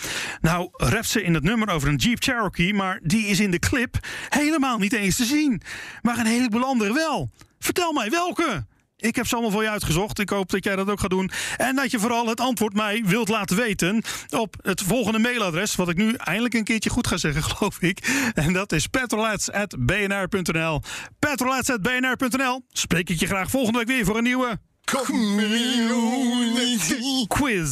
Nou, rapt ze in het nummer over een Jeep Cherokee, maar die is in de clip helemaal niet eens te zien. Maar een heleboel anderen wel. Vertel mij welke. Ik heb ze allemaal voor je uitgezocht. Ik hoop dat jij dat ook gaat doen. En dat je vooral het antwoord mij wilt laten weten op het volgende mailadres. Wat ik nu eindelijk een keertje goed ga zeggen, geloof ik. En dat is petrolets.bnr.nl. Petrolets.bnr.nl. Spreek ik je graag volgende week weer voor een nieuwe quiz.